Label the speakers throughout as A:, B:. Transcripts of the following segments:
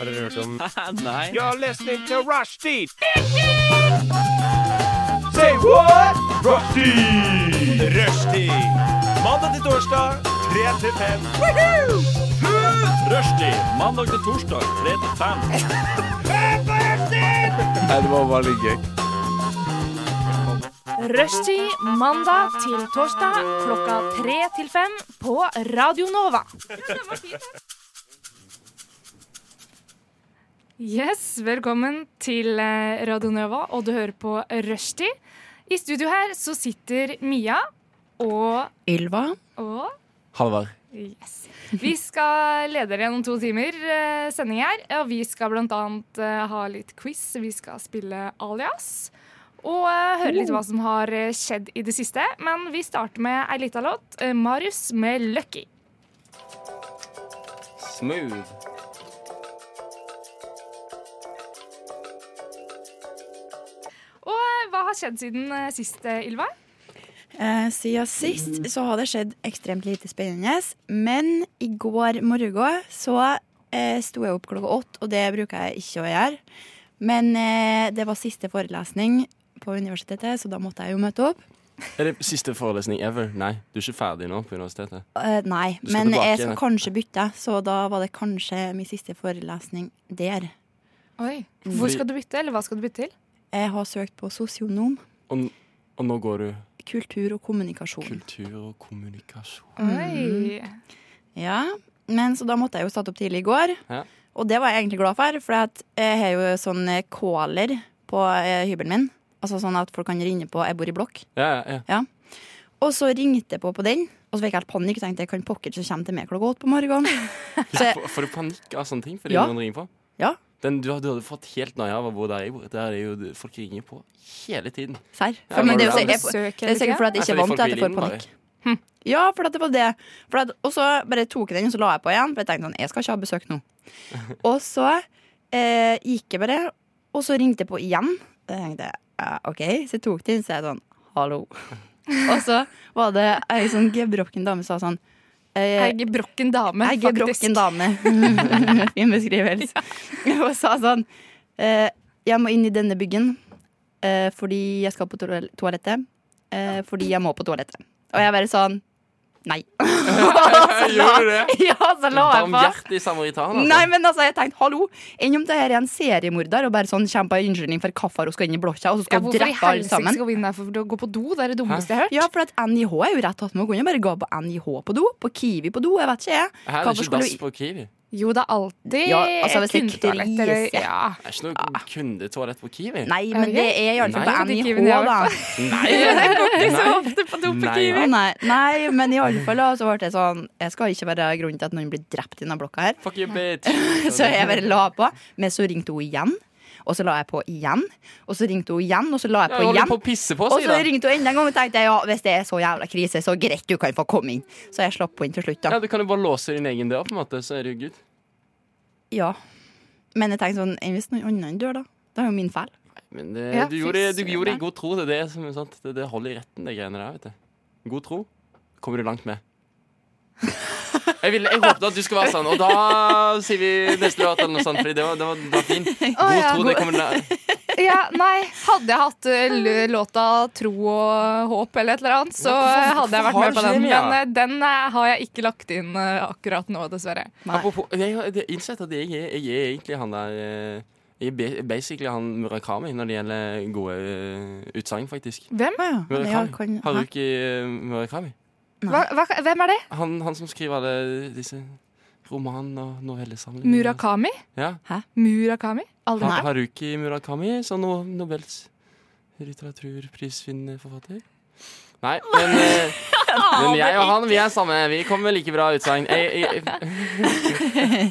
A: Har dere hørt om
B: Nei.
A: You're listening to Rushdie! Say what? Rushdie! Rushdie! Mandag til torsdag, 3 til 5. Rushdie! Mandag til torsdag, 3 til 5.
B: Nei, det var bare litt gøy.
C: Rushtid mandag til torsdag klokka tre til fem på Radio Nova. Yes, velkommen til eh, Radio Nova, og du hører på Rushtid. I studio her så sitter Mia og,
D: Ylva.
C: og
B: Halvard.
C: Yes. Vi skal lede dere gjennom to timer eh, sending her. Og vi skal bl.a. Eh, ha litt quiz. Vi skal spille Alias. Og eh, høre litt hva som har eh, skjedd i det siste. Men vi starter med ei lita låt. Eh, Marius med 'Lucky'. Eh,
B: Smooth.
C: Og eh, hva har skjedd siden eh, sist, eh, Ylva?
D: Eh, siden sist så har det skjedd ekstremt lite spennende, men i går morgen så eh, sto jeg opp klokka åtte, og det bruker jeg ikke å gjøre. Men eh, det var siste forelesning på universitetet, så da måtte jeg jo møte opp.
B: Er det siste forelesning ever? Nei, du er ikke ferdig nå på universitetet.
D: Eh, nei,
B: skal
D: men
B: tilbake
D: jeg skal
B: igjen.
D: kanskje bytte, så da var det kanskje min siste forelesning der.
C: Oi.
B: Fordi-
D: Mm.
C: Hvor skal du bytte, eller hva skal du bytte til?
D: Jeg har søkt på sosionom,
B: Og, n- og nå går du
D: kultur og kommunikasjon.
B: kultur og kommunikasjon.
C: Oi.
D: Mm. Ja, men så da måtte jeg jo starte opp tidlig i går.
B: Ja.
D: Og det var jeg egentlig glad for, for at jeg har jo sånn eh, caller på eh, hybelen min. Altså sånn at folk kan ringe på jeg bor i blokk.
B: Ja, ja, ja.
D: Og så ringte jeg på på den, og så fikk jeg helt panikk. Tenkte jeg kan pokker så kommer til meg klokka åtte på morgenen. Så jeg,
B: Får, får du panikk av sånne ting fordi
D: Ja.
B: noen ringer på?
D: ja,
B: Den, du, du hadde fått helt nøye av å bo der jeg bor. Der er jo folk ringer på hele tiden.
D: serr.
B: Ja,
D: For- men
B: var
D: det
B: du
D: er
B: Hm.
D: jo
B: aldri
D: sikkert-
C: søk
D: det er
C: hele tida?
D: sikkert fordi at jeg
B: Nei,
D: ikke er vant
B: fordi
D: til at jeg
B: folk
D: får
B: vil inn,
D: panikk. Ja, for at det var det. For at, og så bare tok jeg den, og så la jeg på igjen. For jeg tenkte sånn, jeg skal ikke ha besøk nå. Og så eh, gikk jeg bare, og så ringte jeg på igjen. Og jeg tenkte, ja, ok, Så jeg tok den, så jeg sånn, hallo. Og så var det ei sånn gebrokken dame som sa sånn eh,
C: Jeg er brokken dame,
D: jeg er
C: faktisk.
D: brokken dame. fin beskrivelse. Hun sa sånn eh, Jeg må inn i denne byggen eh, fordi jeg skal på toal- toalettet. Eh, fordi jeg må på toalettet. Og jeg bare sånn Nei.
B: Gjorde du det?
D: ja, så la jeg på.
B: Barmhjertig samaritan. Altså.
D: Nei, men altså, jeg tenkte, hallo Enn om det her er en seriemorder og bare sånn kommer på en unnskyldning for hvorfor hun skal inn i blokka og så
C: Ja,
D: skal hun
C: hvorfor i
D: drepe alle
C: helsike
D: sammen?
C: skal vi inn der for å gå på do? Det er det dummeste jeg har hørt.
D: Ja, for at NIH er jo rett attmed. Hun kunne jo bare gå på NIH på do. På Kiwi på do. Jeg vet ikke, jeg.
B: Her er
D: Hvorfor
B: det ikke
D: skulle
B: dass
D: vi-
B: på Kiwi. Det
C: Jo, det er alltid
D: Ja, altså, hvis det er
C: kundetoalett,
D: krise.
C: eller- Ja.
B: er ikke noe kundetoalett på Kiwi.
D: Ah. Nei, men
C: Ok.
D: det er iallfall
C: Nei,
D: på
C: det er ikke
D: NIH,
C: Kiwi, det er i
D: da.
C: hvert
B: Nei.
C: Jeg går ikke så
B: Nei.
C: ofte på do på
B: Nei.
C: Kiwi.
D: Å, nei, nei, men i alle fall da, så ble det sånn Jeg skal ikke være grunnen til at noen blir drept i denne blokka her.
B: Fuck you, bitch.
D: Så jeg bare la på. Men så ringte hun igjen, og så la jeg på igjen. Og så ringte hun igjen, og så la jeg
B: Jeg
D: på
B: holder
D: igjen.
B: på å pisse på,
D: Og
B: sier
D: så
B: jeg.
D: ringte hun enda en gang og tenkte jeg, ja, hvis det er så jævla krise, så greit, du kan få komme inn. Så jeg slapp henne inn til slutt,
B: Ja,
D: da.
B: du kan jo bare låse din egen dør, på en måte, så er du good.
D: Ja. Men jeg tenkte sånn, enn hvis noen annen dør, da? Det er jo min feil.
B: Men det,
C: Ja,
B: du, gjorde, du
C: fy
B: gjorde det i
C: søren.
B: god tro. Det, er det, som er sant. det, det holder i retten, de greiene der. vet du God tro kommer du langt med. Jeg, ville, jeg håpet at du skulle være sånn, og da sier vi neste låt eller noe sånt. Fordi det var, det var, det var fint. God
C: ja,
B: tro, det kommer la-
C: Ja, nei, hadde jeg hatt eh, l- låta 'Tro og håp' eller et eller annet, så eh, hadde jeg vært
B: hvorfor
C: med på
B: har du
C: den.
B: ikke det,
C: Men eh, den eh, har jeg ikke lagt inn eh, akkurat nå, dessverre.
D: Nei.
B: Apropos, jeg har jeg har innsett at jeg er, jeg er egentlig han der eh, Jeg er ba- basically han Murakami når det gjelder gode eh, utsagn, faktisk.
C: Hvem?
D: Å ja, men ja,
B: Murakami.
D: kan-
B: Har du
D: hæ?
B: ikke eh, Murakami?
C: Hva, hva, hvem er det?
B: Han, han som skriver alle disse roman- og
C: Mm.
B: novellesamlingene.
C: Murakami?
B: Ja.
C: Murakami? Aldri.
B: Ha- Haruki Murakami, sånn no Nobels litteraturprisvinnende forfatter. Nei, men, eh, men jeg og han, vi er samme. Vi kommer med like bra utsagn. Jeg, jeg,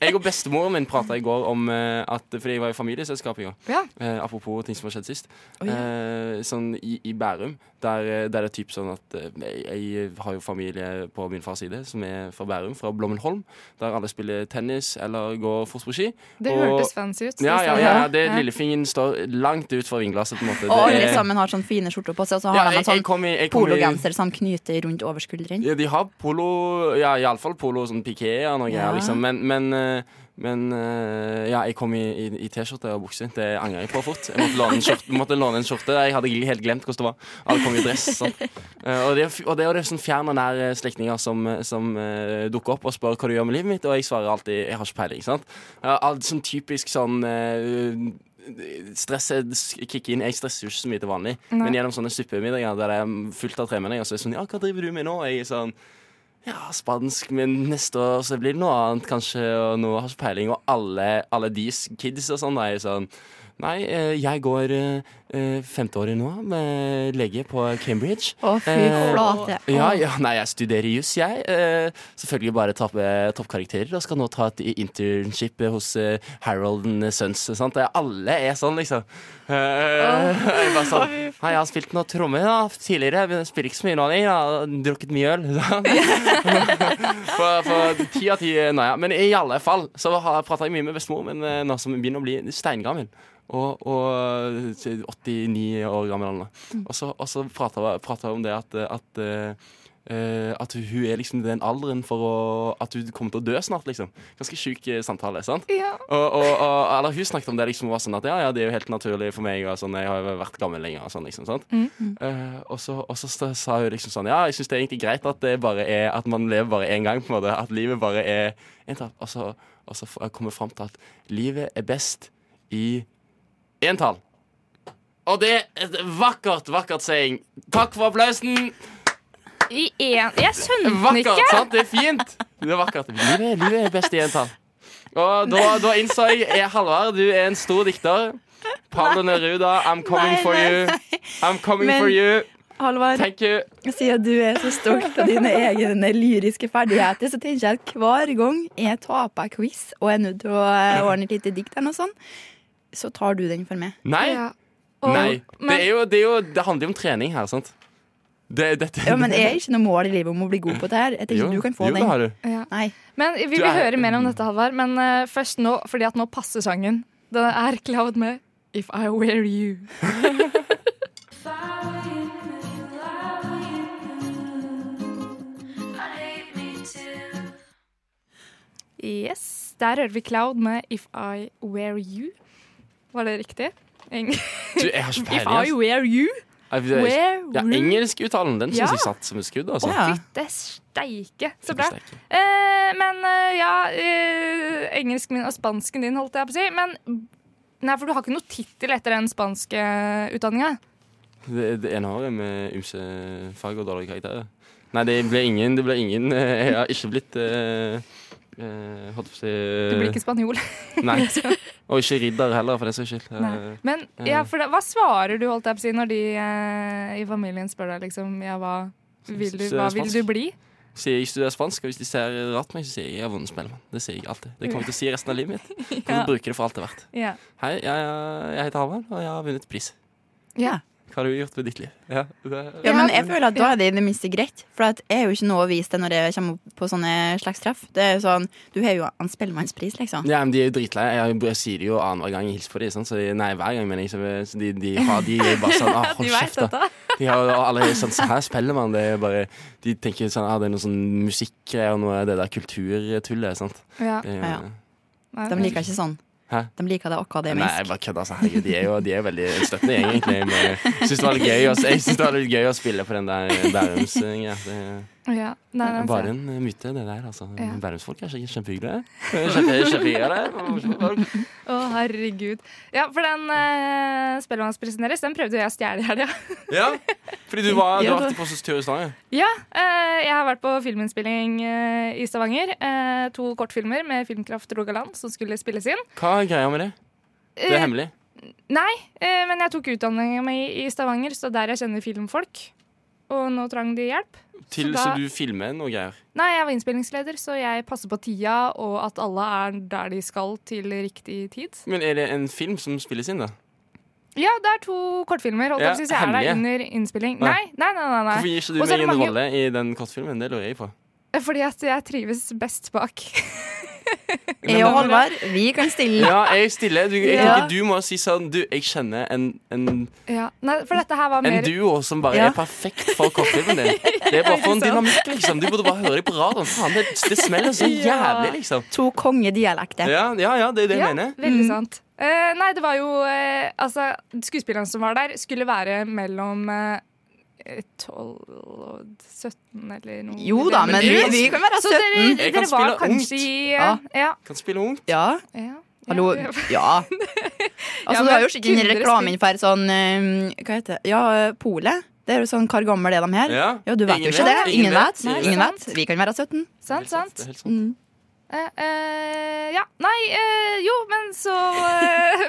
B: jeg og bestemoren min prata i går om eh, at Fordi jeg var i familieselskap i går.
C: Ja.
B: Eh, apropos ting som har skjedd sist.
D: Oi.
B: Eh, sånn i, i Bærum Der, eh, der det er typ sånn at eh, jeg, jeg har jo familie på min fars side, som er fra Bærum, fra Blommenholm. Der alle spiller tennis eller går fotballski.
C: Det
B: Og-
C: hørtes fancy ut.
B: Ja, ja, ja, ja, det
C: Ja.
B: Lillefingeren står langt ut fra vinglasset, på en måte.
D: Og
B: Det
D: alle
B: er-
D: sammen har sånn fine skjorter på seg, og så har
B: Ja,
D: de
B: jeg,
D: en
B: jeg
D: sånn
B: kom i, jeg kom i
D: pologenser som knyter rundt over skulderen.
B: ja, de har polo Ja, iallfall polo sånn piké og noe
D: Ja.
B: greier, liksom. Men, men, eh, men eh, ja, jeg kom i, i, i T-skjorte og bukse. Det angrer jeg på fort. Jeg måtte låne en skjorte. Måtte låne en skjorte. Jeg hadde egentlig helt glemt hvordan det var. Alle kom i dress. Sånn. Eh, og det er f- og det er jo det sånn fjern og nær eh, slektninger som, eh, som eh, dukker opp og spør hva du gjør med livet mitt, og jeg svarer alltid 'jeg har ikke peiling'. sant? Ja, alt sånn typisk sånn eh, Stresset s- kicker inn. Jeg stresser jo ikke så mye til vanlig,
C: Nei.
B: men gjennom sånne suppemiddager der det er fullt av tremenninger, så er det sånn 'ja, hva driver du med nå?' Og jeg er sånn ja, spansk, men neste år så blir det noe annet, kanskje. Og nå har jeg ikke peiling. Og alle, alle deres kids og sånn da er jo sånn Nei, eh, jeg går eh, eh, femteåret nå med lege på Cambridge.
D: Å, fy
B: Eh,
D: flate.
B: Ja, ja, nei, jeg studerer juss, jeg. Eh, selvfølgelig bare tappe toppkarakterer og skal nå ta et internship hos eh, Harold and Sons. Sant? Det er- Alle er sånn, liksom. Eh, jeg bare sånn, Nei, jeg har spilt noe tromme da, tidligere, men jeg spiller ikke så mye nå. Jeg har drukket mye øl. sant? For, for ti av ti eh, nei, ja. Men i alle fall så har- prater jeg mye med bestemor, men eh, nå som jeg begynner å bli steingammel og, og 89 år gammel eller noe. Og så, og så prater jeg- prater jeg om det at, eh, at eh, eh, at hun er liksom i den alderen for å, at hun kommer til å dø snart, liksom. Ganske sjuk eh, samtale, sant?
C: Ja.
B: Og, og, og, eller hun snakket om det liksom, og var sånn at ja, ja, det er jo helt naturlig for meg. Og sånn, jeg har jo vært gammel lenger. Og sånn, liksom, sant? Eh, og så, og så sta- sa hun liksom sånn Ja, jeg syns det er egentlig greit at, det bare er, at man lever bare én gang. på en måte At livet bare er entall. Og så, og så f- kom jeg fram til at livet er best i entall. Og det er et vakkert, vakkert saying. Takk for applausen.
C: I en, jeg skjønte den
B: Vakkert,
C: ikke.
B: sant? Det er fint. Det er vakkert. Livet, livet er best i entall. Og da, da innså jeg eh, Halvard, du er en stor dikter. Pablo Neruda, I'm coming
D: Nei,
B: for
D: nei,
B: you. I'm coming
D: Men-
B: for you.
D: Halvard,
B: Thank you.
D: siden du er så stolt av dine egne lyriske ferdigheter, så tenker jeg at hver gang jeg taper quiz og er nødt til å eh, ordne et lite dikt eller noe sånt, så tar du den for meg.
B: Nei.
C: Ja. Og-
B: nei. Det,
C: men-
B: er jo, det, er jo, det handler jo om trening her, sant? Det, dette,
D: Ja, men jeg er ikke noe mål i livet om å bli god på det her. Jeg tenker
B: Jo,
D: du kan få
B: jo, det
D: den.
B: har du.
C: Ja.
D: Nei.
C: Men vi
B: Du
C: vil
B: er-
C: høre mer om dette, Halvard. Men eh, først nå, fordi at nå passer sangen. Den er Cloud med If I Wear You. Yes, der hører vi Cloud med If I Wear You. Var det riktig? Eng
B: Du, jeg har ikke
C: If
B: peiling.
C: I
B: altså.
C: Wear You?
B: Jeg- jeg-
C: Wear
B: Ja,
C: you?
B: Engelskuttalen, den syns
C: Ja.
B: jeg satt som et skudd. Altså.
D: Ja.
C: Fytte steike. Så bra.
B: Fyttesteike.
C: Eh, men eh, ja eh, Engelsken min og spansken din, holdt jeg på å si. Men nei, for du har ikke noe tittel etter den spanske utdanninga.
B: Det, det ene året med ymse fag og dårlige karakterer. Nei, det ble ingen. Det ble ingen eh, jeg har ikke blitt eh, eh, Holdt på å si eh,
C: Du blir ikke spanjol.
B: Nei. Og ikke ridder heller, for den saks skyld.
C: Nei.
B: Eh,
C: Men ja, for da, hva svarer du, holdt jeg på å si, når de eh, i familien spør deg liksom ja, hva vil du, hva vil du bli?
B: Sier jeg studerer spansk, og hvis de ser rart på meg, så sier jeg jeg er vondespellemann. Det sier jeg alltid. Det kommer jeg til å si resten av livet mitt. Jeg kommer til å bruke det for alt det er verdt.
C: Ja.
B: Hei, jeg, jeg heter Halvard, og jeg har vunnet pris.
D: Ja.
B: Hva har du gjort med ditt liv? Ja, det,
D: Ja, men jeg
C: Ja.
D: føler at da er det i det minste greit. For at jeg er jo ikke noe å vise til når jeg kommer opp på sånne slags treff. Det er jo sånn, Du har jo en spellemannspris, liksom.
B: Ja, men De er jo dritleie. Jeg, jeg sier det jo annenhver gang jeg hilser på dem. Sånn, så de, nei, hver gang, mener jeg. Så så de, de, har, de er bare sånn ah, Hold
C: De veit
B: kjeft, da.
C: dette.
B: De har jo alle sånn så Her spiller man. Det er bare, de tenker sånn ah, Det er noe sånn musikkgreier og noe av det der kulturtullet. Sant?
C: Ja,
B: Det er jo-
D: Ja, ja.
C: nei,
D: De liker ikke sånn.
B: Hæ?
D: De liker det
B: Nei, jeg
D: akademisk.
B: bare kødder. Altså, herregud, de er jo de er jo veldig støttende gjeng, egentlig. Men jeg syns det var litt gøy å- jeg synes det var litt gøy å spille på den der Bærums-greia. Det-
C: Ja, nei, nei,
B: Bare en eh, myte, det der. altså
C: Ja.
B: Bærumsfolk er sikkert kjempehyggelige. Kjempe, kjempehyggelige. det.
C: Å, herregud. Ja, for den uh, spellemannsprisen deres, den prøvde jo jeg å stjele i helga.
B: Ja, fordi du, var, du
D: Ja,
B: har
D: da-
B: vært på så tur i Stavanger.
C: Ja, eh, jeg har vært på filminnspilling eh, i Stavanger. Eh, to kortfilmer med Filmkraft Rogaland som skulle spilles inn.
B: Hva er greia med det? Det er
C: Eh,
B: hemmelig.
C: Nei, eh, men jeg tok utdanninga mi i Stavanger, så der jeg kjenner filmfolk. Og nå trang de hjelp.
B: Til
C: så
B: så,
C: da-
B: du filmer noe greier.
C: Nei, jeg var innspillingsleder, så jeg passer på tida, og at alle er der de skal til riktig tid.
B: Men er det en film som spilles inn, da?
C: Ja, det er to kortfilmer. Holdt
B: Ja,
C: ja, jeg på å si, så er det
B: hemmelige.
C: under innspilling. Nei,
B: Nei.
C: nei, nei. nei, nei.
B: Hvorfor gir ikke du
C: Og så
B: meg
C: er det
B: en
C: mange-
B: rolle i den kortfilmen? Det lurer jeg på.
C: Fordi at jeg trives best bak.
D: Jeg og Halvard, vi kan stille.
B: Ja, jeg stiller. Du, jeg
D: Ja.
B: tenker du må si sånn Du, jeg kjenner en, en,
C: Ja. Nei, for dette her var
B: en
C: mer
B: duo som bare
D: Ja.
B: er perfekt for kortfilmen din. Det er bare for en
C: Ikke sant?
B: dynamikk, liksom. Du burde bare høre det på radioen. Faen, det, det smeller så
C: Ja.
B: jævlig, liksom.
D: To kongedialekter.
B: Ja, ja, ja det er det jeg mener.
C: veldig
D: Mm.
C: sant. Eh, nei, det var jo eh, Altså, skuespilleren som var der, skulle være mellom eh, 12 og 17 eller noe.
D: Jo da, men vi, vi kan være
C: Så dere,
D: 17.
B: Jeg kan
C: dere var
B: spille ungt.
C: kanskje i eh, Ja.
B: Kan spille ungt.
D: Ja,
C: ja, ja.
D: hallo.
C: ja.
D: Ja. Altså, du
C: men
D: har jo sett den
C: kunne dere
D: reklamen for sånn eh, Hva heter det? Ja, eh, Polet. Det er jo sånn Hvor gammel er de her?
B: Ja.
D: Ja, du vet
B: Ingen
D: jo ikke det.
B: vet.
D: Ingen vet.
B: Ingen
D: Ingen
C: vet.
D: vet. Vi kan være 17.
C: Sant, sant.
B: Det er helt sant.
D: Mm.
C: Eh, eh, ja. Nei, eh, jo, men så eh,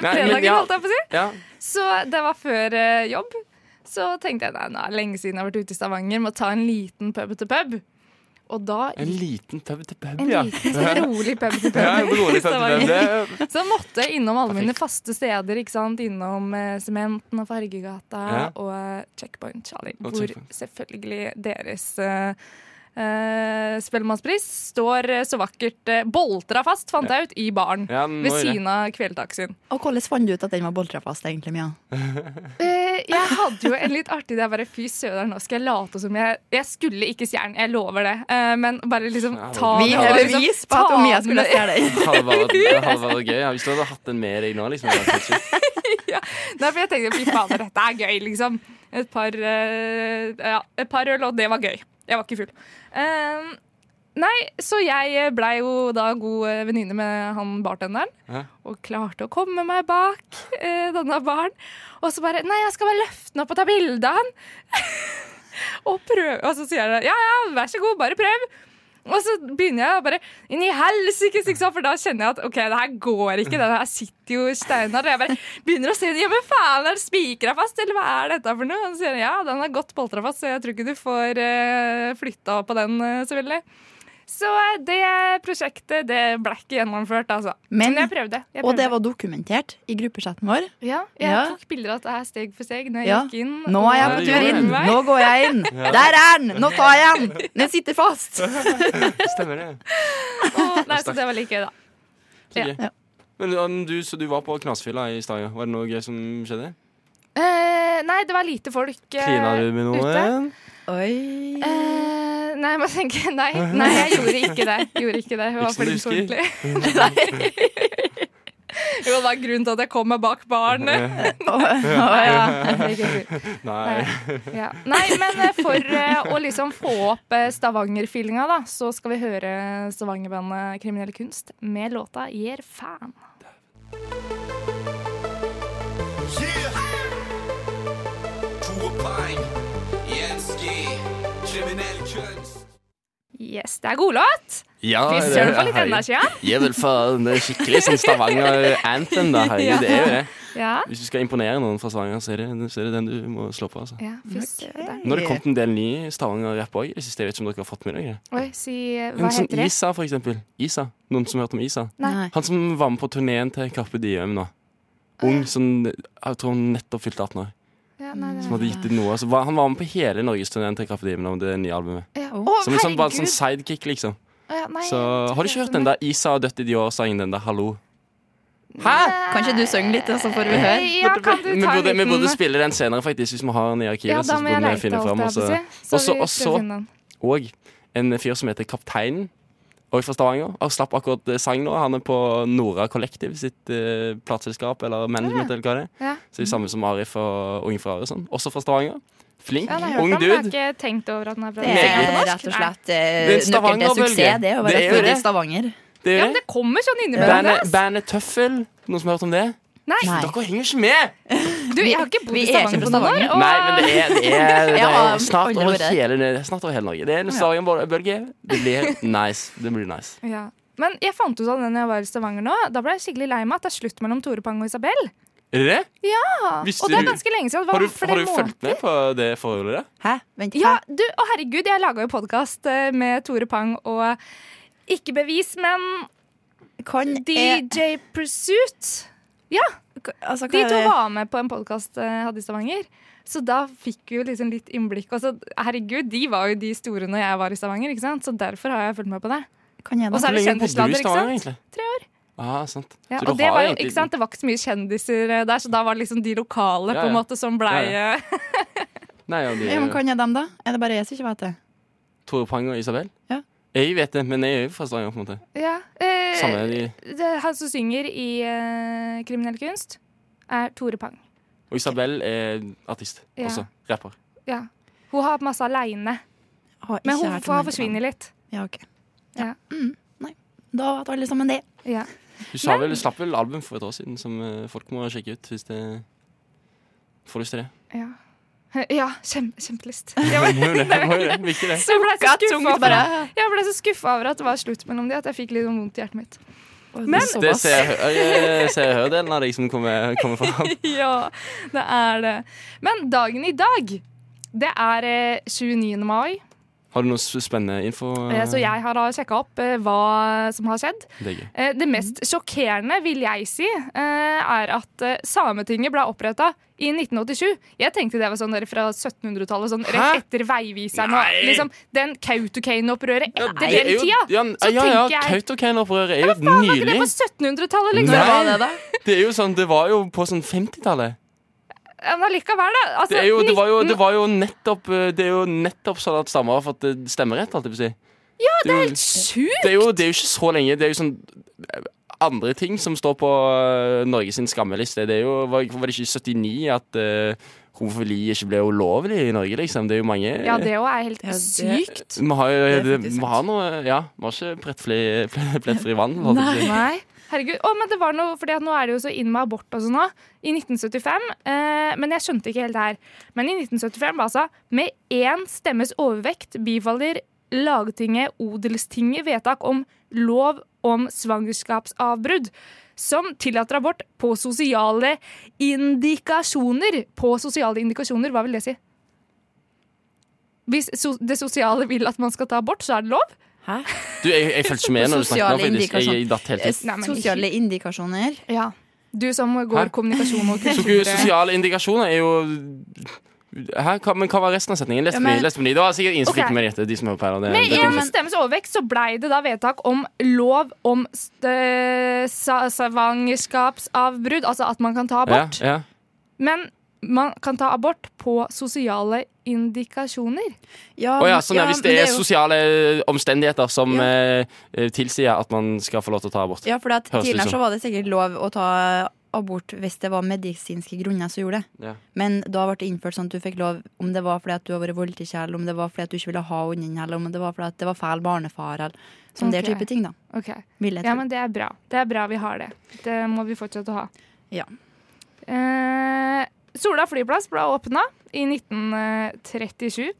B: Nei, men
C: Fredagen,
B: ja.
C: holdt jeg på å si.
B: Ja.
C: Så det var før eh, jobb. Så tenkte jeg nei, nå er det lenge siden jeg har vært ute i Stavanger, må ta en liten pub til pub. Og da
B: En liten pub til pub,
C: En
B: ja.
C: liten sånn rolig pub til
B: Ja, en
C: pub.
B: rolig pub til pub. Det er
C: Så måtte jeg innom alle mine faste steder. ikke sant? Innom eh, Sementen og Fargegata
B: Ja.
C: og eh, Checkpoint Charlie,
B: Og
C: hvor
B: Checkpoint.
C: selvfølgelig deres eh, eh, Spellemannspris står eh, så vakkert eh, boltra fast, fant jeg ut, i baren.
B: Ja, den må
C: ved
B: jo det.
C: siden av Kveldtaxien.
D: Og hvordan fant du ut at den var boltrafast, egentlig, Mia?
C: Eh, jeg hadde jo en litt artig idé. Jeg bare fy søder, nå skal jeg late som jeg Jeg skulle ikke stjerne, jeg lover det. Eh, men bare liksom
B: Ja,
C: ta
D: Vi
B: det
C: og
D: har
B: var-
C: liksom
D: bevis på at
C: ta
D: Mia skulle
C: den-
D: stjele den.
B: Det hadde vært, det hadde vært gøy. Hvis du hadde hatt den med deg nå, liksom. hadde det vært helt sykt.
C: Nei, for jeg tenkte fy fader, dette er gøy, liksom. Et par, eh, ja, et par øl, og det var gøy. Jeg var ikke full. Eh, nei, så jeg eh, blei jo da god eh, venninne med han bartenderen.
B: Ja.
C: Og klarte å komme meg bak eh, denne baren. Og så bare Nei, jeg skal bare løfte den opp og ta bilde av han. og prøve. Og så sier jeg ja, ja, vær så god, bare prøv. Og så begynner jeg å bare Inn i helsike, ikke sant? for da kjenner jeg at OK, det her går ikke. Den her sitter jo steinar. Og jeg bare begynner å se Ja, men faen, er det spikra fast, eller hva er dette for noe? Og så sier han ja, den er godt boltra fast, så jeg tror ikke du får uh, flytta på den, eh, selvfølgelig. Så eh, det prosjektet det ble ikke gjennomført, altså.
D: Men-
C: jeg prøvde. Jeg
D: Og
C: prøvde.
D: det var dokumentert i gruppechatten vår.
C: Ja, jeg
D: Ja.
C: tok bilder av dette her steg for steg når jeg
D: Ja.
C: gikk inn.
D: Nå er jeg
B: Ja,
D: på
B: du
D: tur
B: gjorde
D: inn!
B: det.
D: Nå går jeg inn! Der er den! Nå tar jeg den! Den sitter fast!
B: Stemmer det.
C: Å, nei, så det var like gøy, da.
B: Så
C: Ja.
B: gøy. Men um, du, så du var på knasfylla i stad, ja. Var det noe gøy som skjedde?
C: Eh, nei, det var lite folk eh,
B: Klina du med noen?
D: Oi.
C: Eh, nei, jeg må tenke Nei, nei jeg gjorde ikke det. Gjorde ikke det. Hun
B: Ikke
C: var
B: som du
C: flink
B: husker?
C: ordentlig. Nei. Jo, det var grunnen til at jeg kom meg bak barnet.
B: Nei.
C: Ja. Nei, men eh, for eh, å liksom få opp eh, Stavanger-feelinga, da, så skal vi høre Stavanger-bandet Kriminell Kunst med låta Gir faen.
E: Yeah! Tore Pine, Jenski, kriminell kunst.
C: Yes, det er godlåt!
B: Ja,
C: Fy
B: det-
C: søren, for litt
B: hei.
C: energi, ja.
B: Ja, vel, faen. Det er skikkelig sånn Stavanger-anthem, da. Herregud, det er jo det.
C: Ja.
B: Hvis du skal imponere noen fra Stavanger, så er det, så er det den du må slå på. altså
C: ja fy søren.
B: Nå har det kommet en del ny Stavanger-rapp òg i det siste. Jeg vet ikke om dere har fått med dere det.
C: Oi, si eh,
B: En sånn
C: Hva
B: som
C: heter det?
B: Isa, for eksempel. Isa. Noen som har hørt om Isa?
D: Nei.
B: Han som var med på turneen til Carpe Diem nå. Ung, som jeg tror hun nettopp fylte 18 år.
C: Ja, nei,
B: Som hadde gitt ut noe. Altså, hva- han var med på hele norgesturneen til Carpe Diem nå, med det nye albumet.
C: Ja. Å,
B: Som en sånn, bare en
C: herregud.
B: sånn sidekick, liksom.
C: Å, ja, nei,
B: Så
C: jeg
B: har du ikke hørt den der Isa og Dødt i Dior-sangen, den der 'Hallo'?
D: Kanskje du synger litt, og så får vi høre?
C: Ja, kan du
B: Vi
C: ta en
B: burde, vi
C: liten eh,
B: burde spille den senere, faktisk, hvis vi har den i arkivet.
C: Ja,
B: så
C: da må jeg
B: burde vi
C: leite,
B: finne
C: holdt
B: fram,
C: jeg
B: og så-
C: på å si. Så
B: Også-
C: vi prøver
B: også-
C: å finne den.
B: Og en fyr som heter Kapteinen. Og fra Stavanger. Og slapp akkurat eh, sang nå. Han er på Nora Kollektiv sitt eh, plateselskap, eller management, eller hva det er.
C: Ja.
B: Så det er samme som Arif og Unge fra Arif. Sånn. Også fra Stavanger. Flink,
C: Ja, nei, jeg har
B: ung
C: hørt om den, men
B: dude.
C: Jeg har ikke tenkt over at den er fra
D: Det er rett og slett eh,
B: Det er en
D: nøkkelen til
B: Stavanger-bølge.
D: suksess, det
B: Det
D: å være
B: er jo
D: født i
B: det.
D: Stavanger.
B: Det er
C: Ja, men
B: det.
C: det kommer sånn innimellom.
B: Bandet,
C: ass.
B: bandet Tøffel. Noen som har hørt om det?
C: Nei,
D: Nei.
B: Dere henger ikke med!
C: du, jeg har ikke bodd
D: Vi
C: i
D: er ikke
C: Stavanger
D: fra
C: på noen år.
D: Stavanger.
C: og-
B: Nei, men det er, det er, det
D: Ja,
B: er snart,
D: alle
B: over
D: ordet.
B: hele, det er snart over hele Norge. Det er en Stavanger-bølge. Det blir nice. Det blir nice.
C: Ja. Men jeg fant ut av det når jeg var i Stavanger nå. Da ble jeg skikkelig lei meg at det er slutt mellom Tore Pang og Isabel.
B: Er det det?
C: Ja,
B: Visste
C: og det er
B: du-
C: ganske lenge siden. Det var
B: Har du,
C: flere
B: har du
C: måneder.
B: fulgt med på det forholdet der?
D: Hæ? Vent,
C: Ja,
D: hæ?
C: du, å herregud, jeg laga jo podkast med Tore Pang og Ikke bevis, men Eh.
D: Kan jeg
C: DJ Pursuit. Ja,
D: k- altså, hva
C: De
D: er
C: to
D: det-
C: var med på en podkast jeg hadde i Stavanger, så da fikk vi jo liksom litt innblikk. Og så, herregud, de var jo de store når jeg var i Stavanger, ikke sant? så derfor har jeg fulgt med på det.
D: Kan jeg
C: Og så
D: da?
C: er det
B: Hvor lenge bodde du i
C: kjendisladder, ikke
B: Stavanger,
C: sant?
B: egentlig?
C: Tre år.
B: Ah, sant.
C: Ja,
B: Så du
C: og det
B: har
C: var jo,
B: egentlig-
C: ikke sant, det var ikke så mye kjendiser eh, der, så da var det liksom de lokale
B: Ja,
C: på en
B: ja.
C: måte som blei eh,
B: Ja, Nei, ja, de,
D: Ja, men kan jeg dem, da? Er det bare jeg som ikke vet det?
B: Tore Pang og Isabel?
D: Ja.
B: Jeg vet det, men jeg er jo fra Stavanger. på en måte
C: eh, ja. Eh,
B: Samme de
C: det, Han som synger i eh, Kriminell kunst, er Tore Pang.
B: Og Isabel er artist
C: Ja.
B: også. Rapper.
C: Ja. Hun har masse aleine,
D: Har ikke
C: men hun
D: hørt om
C: får
D: den.
C: forsvinne litt.
D: Ja, ok.
C: Ja.
D: Mm, nei. Da vet alle sammen det.
C: Ja.
B: Du sa vel, slapp vel album for et år siden, som eh, folk må sjekke ut hvis det får lyst til det.
C: Ja, ja kjem, kjempelyst.
B: Ja, men, det var jo det. Viktig, det.
C: Så jeg ble så skuffa over,
D: bare.
C: jeg ble så skuffet over at det var slutt mellom de, at jeg fikk litt vondt i hjertet mitt. Men-
B: Det ser jeg, hø- jeg ser jeg hører delen av deg som kommer, kommer fram.
C: Ja, det er det. Men dagen i dag, det er eh, 29. mai,
B: Har du noe s- spennende info?
C: eh, så
B: Ah.
C: jeg har sjekka opp eh, hva som har skjedd.
B: Det er gøy.
C: Eh, Det mest sjokkerende, vil jeg si, eh, er at eh, Sametinget ble oppretta i 1987. Jeg tenkte det var sånn der fra 1700-tallet, sånn
B: Hæ?
C: rett etter Veiviseren og
B: Nei!
C: liksom den Kautokeino-opprøret
B: Ja,
C: etter
B: det er
C: den
B: jo-
C: tida.
B: Ja,
C: så
B: ja, ja,
C: tenker jeg-
B: Kautokeino-opprøret er jo
C: Var ikke det
B: nylig.
C: på 1700-tallet, liksom?
B: Nei.
D: Når var det, da?
B: Det er jo sånn, det var jo på sånn 50-tallet.
C: Ja, Men allikevel, da. Altså,
B: Det, er jo- det, var jo-
C: 19
B: det var jo nettopp eh, Det er jo nettopp sånn at stammer har fått eh, stemmerett, holdt jeg på å si. Ja, det er helt
C: Sjukt!
B: det er, jo, det er jo ikke så lenge. Det er jo sånn eh, andre ting som står på eh, Norges sin skammeliste. Det er jo, var, var det ikke i 79 at uh, homofili ikke ble ulovlig i Norge, liksom? Det er jo mange
C: Ja, det òg er helt
D: Ja, det-
C: sykt.
B: Vi har jo
D: Det er
B: det,
D: faktisk
B: vi
D: sant.
B: har noe Ja, vi har ikke plettfri, plettfri vandel. holdt jeg på å si. sånn.
C: Nei. Herregud. Å, men det var noe, fordi at nå er det jo så inn med abort og sånn nå, i 1975. Eh, men jeg skjønte ikke helt det her. Men i 1975, altså, med én stemmes overvekt bifaller Lagtinget Odelstinget vedtak om lov om svangerskapsavbrudd. Som tillater abort på sosiale indikasjoner. På sosiale indikasjoner, hva vil det si? Hvis so det sosiale vil at man skal ta abort, så er det lov?
D: Hæ?
B: Du, jeg, jeg følger ikke med når du snakker nå,
D: Sosiale
B: faktisk. Jeg, jeg datt helt ut.
C: Nei, men ikke-
D: Sosiale indikasjoner.
C: Ja. Du som går
B: Hæ?
C: kommunikasjon og
B: Så
C: kultur.
B: ikke Sosiale indikasjoner er jo Hæ? Hva, men hva var resten av setningen? Leste
D: Ja,
B: ja, men...
D: men-
B: på ny. leste på ny. Det var sikkert ingen som
C: Ok.
B: fikk med dette, de som hører på her. og Det,
C: Med
B: det,
C: én stemmes overvekt så blei det da vedtak om lov om st- sa- svangerskapsavbrudd, altså at man kan ta abort.
B: Ja, ja.
C: Men man kan ta abort på sosiale indikasjoner.
B: Å ja,
D: men-
B: sånn, ja, hvis
D: men
B: det er
D: jo-
B: sosiale omstendigheter som
D: Ja.
B: eh, eh, tilsier at man skal få lov til å ta abort.
D: Ja, for at
B: Høres ut
D: tidligere
B: som.
D: så var det sikkert lov å ta abort hvis det var medisinske grunner som gjorde det.
B: Ja.
D: Men da ble det innført sånn at du fikk lov om det var fordi at du har vært voldtekt, eller om det var fordi at du ikke ville ha hunden, eller om det var fordi at det var feil barnefar, eller sånn der
C: Ok.
D: type ting, da.
C: Ok,
D: Vil jeg
C: Ja,
D: tro.
C: men det er bra. Det er bra vi har det. Det må vi fortsette å ha.
D: Ja.
C: Eh, Sola flyplass ble åpna i 1937.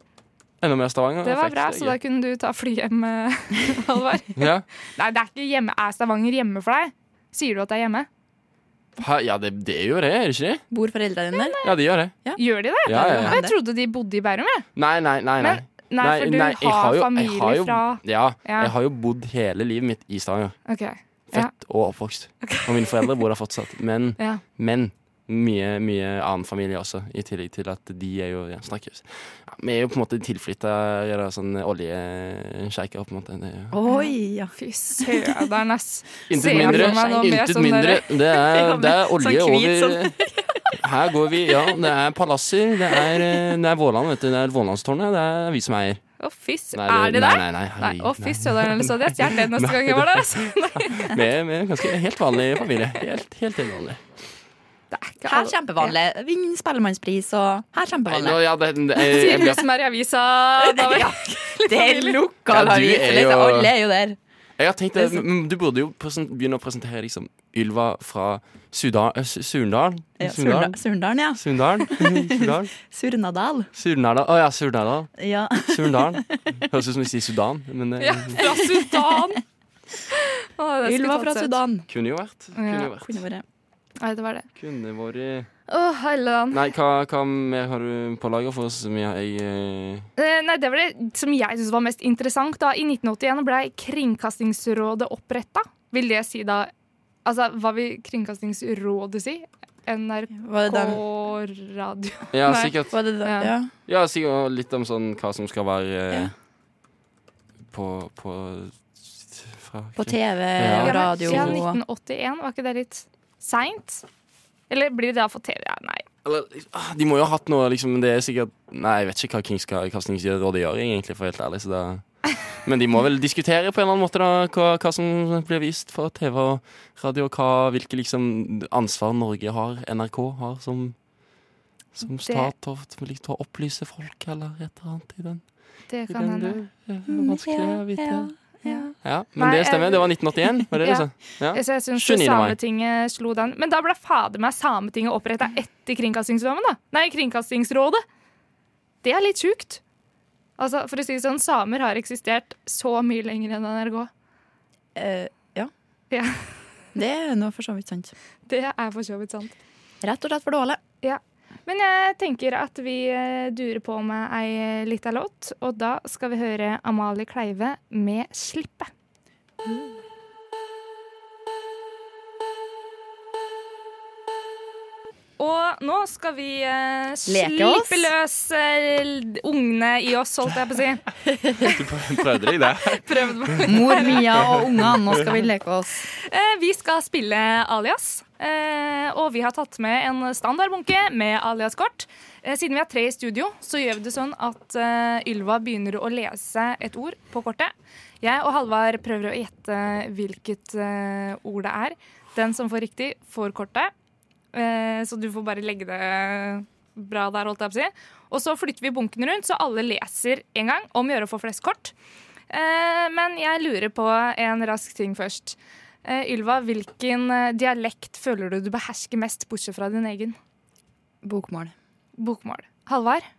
B: Enda mer Stavanger.
C: Det var
B: faktisk,
C: bra,
B: er
C: så da
B: gøy.
C: kunne du ta fly hjem, eh, Halvard.
B: ja.
C: Nei, det er ikke hjemme. Er Stavanger hjemme for deg? Sier du at det er hjemme?
B: Hæ? ja, det, det er jo det, er det ikke det?
D: Bor foreldrene dine der?
B: Ja, de gjør det.
C: Gjør de det?
B: Ja, ja,
C: Og
B: ja.
C: jeg trodde de bodde i Bærum, jeg.
B: Nei, nei, nei. nei.
C: Men- Nei, for du
B: nei, jeg
C: har,
B: jo- jeg
C: familie
B: har jo,
C: fra
B: ja,
C: Ja.
B: jeg har jo bodd hele livet mitt i Stavanger.
C: OK. Ja.
B: Født og oppvokst. Og mine foreldre bor der fortsatt. Men,
C: Ja.
B: men mye, mye annen familie også, i tillegg til at de er jo ja, snakkes. Ja, vi er jo på en måte tilflytta sånn oljesjeiker, på en måte. Det er jo
D: Oi, ja.
C: Fy søderen, ass.
B: Intet
C: Ser jeg
B: mindre.
C: for meg nå med
B: Intet
C: sånn
B: mindre.
C: derre-
B: Det er, det er olje
D: sånn hvit
B: over
C: sånn-
B: Her går vi. Ja, det er palasser. Det er, eh, det er Våland, vet du. Det er Vålandstårnet. Det er vi som eier.
C: Å, fy s-
B: Nei,
C: Er det
B: nei,
C: der?
B: Nei, nei,
C: Nei,
B: herregud,
C: å, fy søderen, eller så hadde jeg stjålet det neste gang jeg var der, altså. Nei,
B: nei. Vi er vi er en ganske helt vanlig familie. Helt, helt helt vanlig.
C: det er ikke
D: Her
C: alle-
D: kjempevanlig. Vinn Spellemannspris, og
B: Nei,
D: her kjempevanlig.
B: nå, ja, det, det, jeg,
C: Sier
B: jeg,
C: du
B: jeg,
C: som er i avisa, David.
D: Det er
B: Ja, du er
D: lokalavis!
B: jo-
D: liksom. Alle er jo der.
B: jeg har tenkt det, men Du burde jo presen- begynne å presentere liksom Ylva fra Sudan, eh, Su- Surndal.
D: Ja,
B: Surndal.
D: Surna- Surndalen, ja.
B: Surndal. Surndal.
D: Surnadal.
B: Surndal. Å ja, Surndal.
D: Ja.
B: Surndal. Høres ut som de sier Sudan, men eh, det
C: Ja, fra Sudan. Å, det skulle
D: Ylva
C: tatt
D: fra
C: seg ut.
D: Sudan.
B: kunne jo vært. Kunne jo vært.
D: Kunne vært.
C: Nei, det var det.
B: Kunne vært
C: Å, Helland.
B: Nei, hva, hva mer har du på lager for oss? Mia? Jeg, eh,
C: Eh, Nei, det var det som jeg synes var mest interessant. da. I 1981 ble Kringkastingsrådet oppretta. Vil det si da Altså, hva vil Kringkastingsrådet si? NRK
D: Var det dem?
C: radio.
B: Ja,
D: Nei,
B: sikkert.
D: Var det dem?
C: Ja.
D: Ja.
B: Ja, sikkert litt om sånn hva som skal være eh,
D: Ja.
B: på, på fra,
D: På TV,
B: Ja,
C: men-
D: radio
C: Ja, 1981, var ikke det litt seint? Eller blir det da for TV? Ja, nei.
B: Eller, ah, de må jo ha hatt noe liksom, Det er sikkert Nei, jeg vet ikke hva Kringkastingsrådet gjør, egentlig, for å være helt ærlig. Så da. Men de må vel diskutere på en eller annen måte da, hva, hva som blir vist på TV og radio, og hva, hvilke liksom, ansvar Norge har, NRK har, som, som stat, og som liksom, til å opplyse folk, eller et eller annet i den,
C: Det
B: i
C: kan
B: den
C: hende. Mm,
B: dur. Det er Vanskelig å vite. Ja,
D: ja.
B: men
C: Nei,
B: det stemmer.
C: jeg-
B: Det var 1981, var det det du
C: Ja.
B: sa? Ja.
C: Så jeg syns
B: 29. mai.
C: Sametinget slo den. Men da ble fader meg Sametinget oppretta etter Kringkastingsloven, da. Nei, Kringkastingsrådet. Det er litt sjukt. Altså, for å si det sånn, samer har eksistert så mye lenger enn NRK.
D: Eh, ja.
C: Ja.
D: Det er nå for så vidt sant.
C: Det er for så vidt sant.
D: Rett og slett for dårlig.
C: Men jeg tenker at vi eh, durer på med ei eh, lita låt, og da skal vi høre Amalie Kleive med 'Slippe'. Og nå skal vi eh,
D: Leke oss.
C: slippe løs eh, ungene i oss, holdt jeg på å si.
B: Du prøvde deg der.
C: Prøvd meg.
D: Mor, Mia og ungene, nå skal vi leke oss.
C: Eh, Vi skal spille Alias, eh, og vi har tatt med en standardbunke med Alias-kort. Eh, Siden vi er tre i studio, så gjør vi det sånn at eh, Ylva begynner å lese et ord på kortet. Jeg og Halvard prøver å gjette hvilket eh, ord det er. Den som får riktig, får kortet. Eh, Så du får bare legge det bra der, holdt jeg på å si. Og så flytter vi bunken rundt, så alle leser en gang. Om å gjøre å få flest kort. Eh, Men jeg lurer på en rask ting først. Eh, Ylva, hvilken eh, dialekt føler du du behersker mest, bortsett fra din egen?
D: Bokmål.
C: Bokmål. Halvard?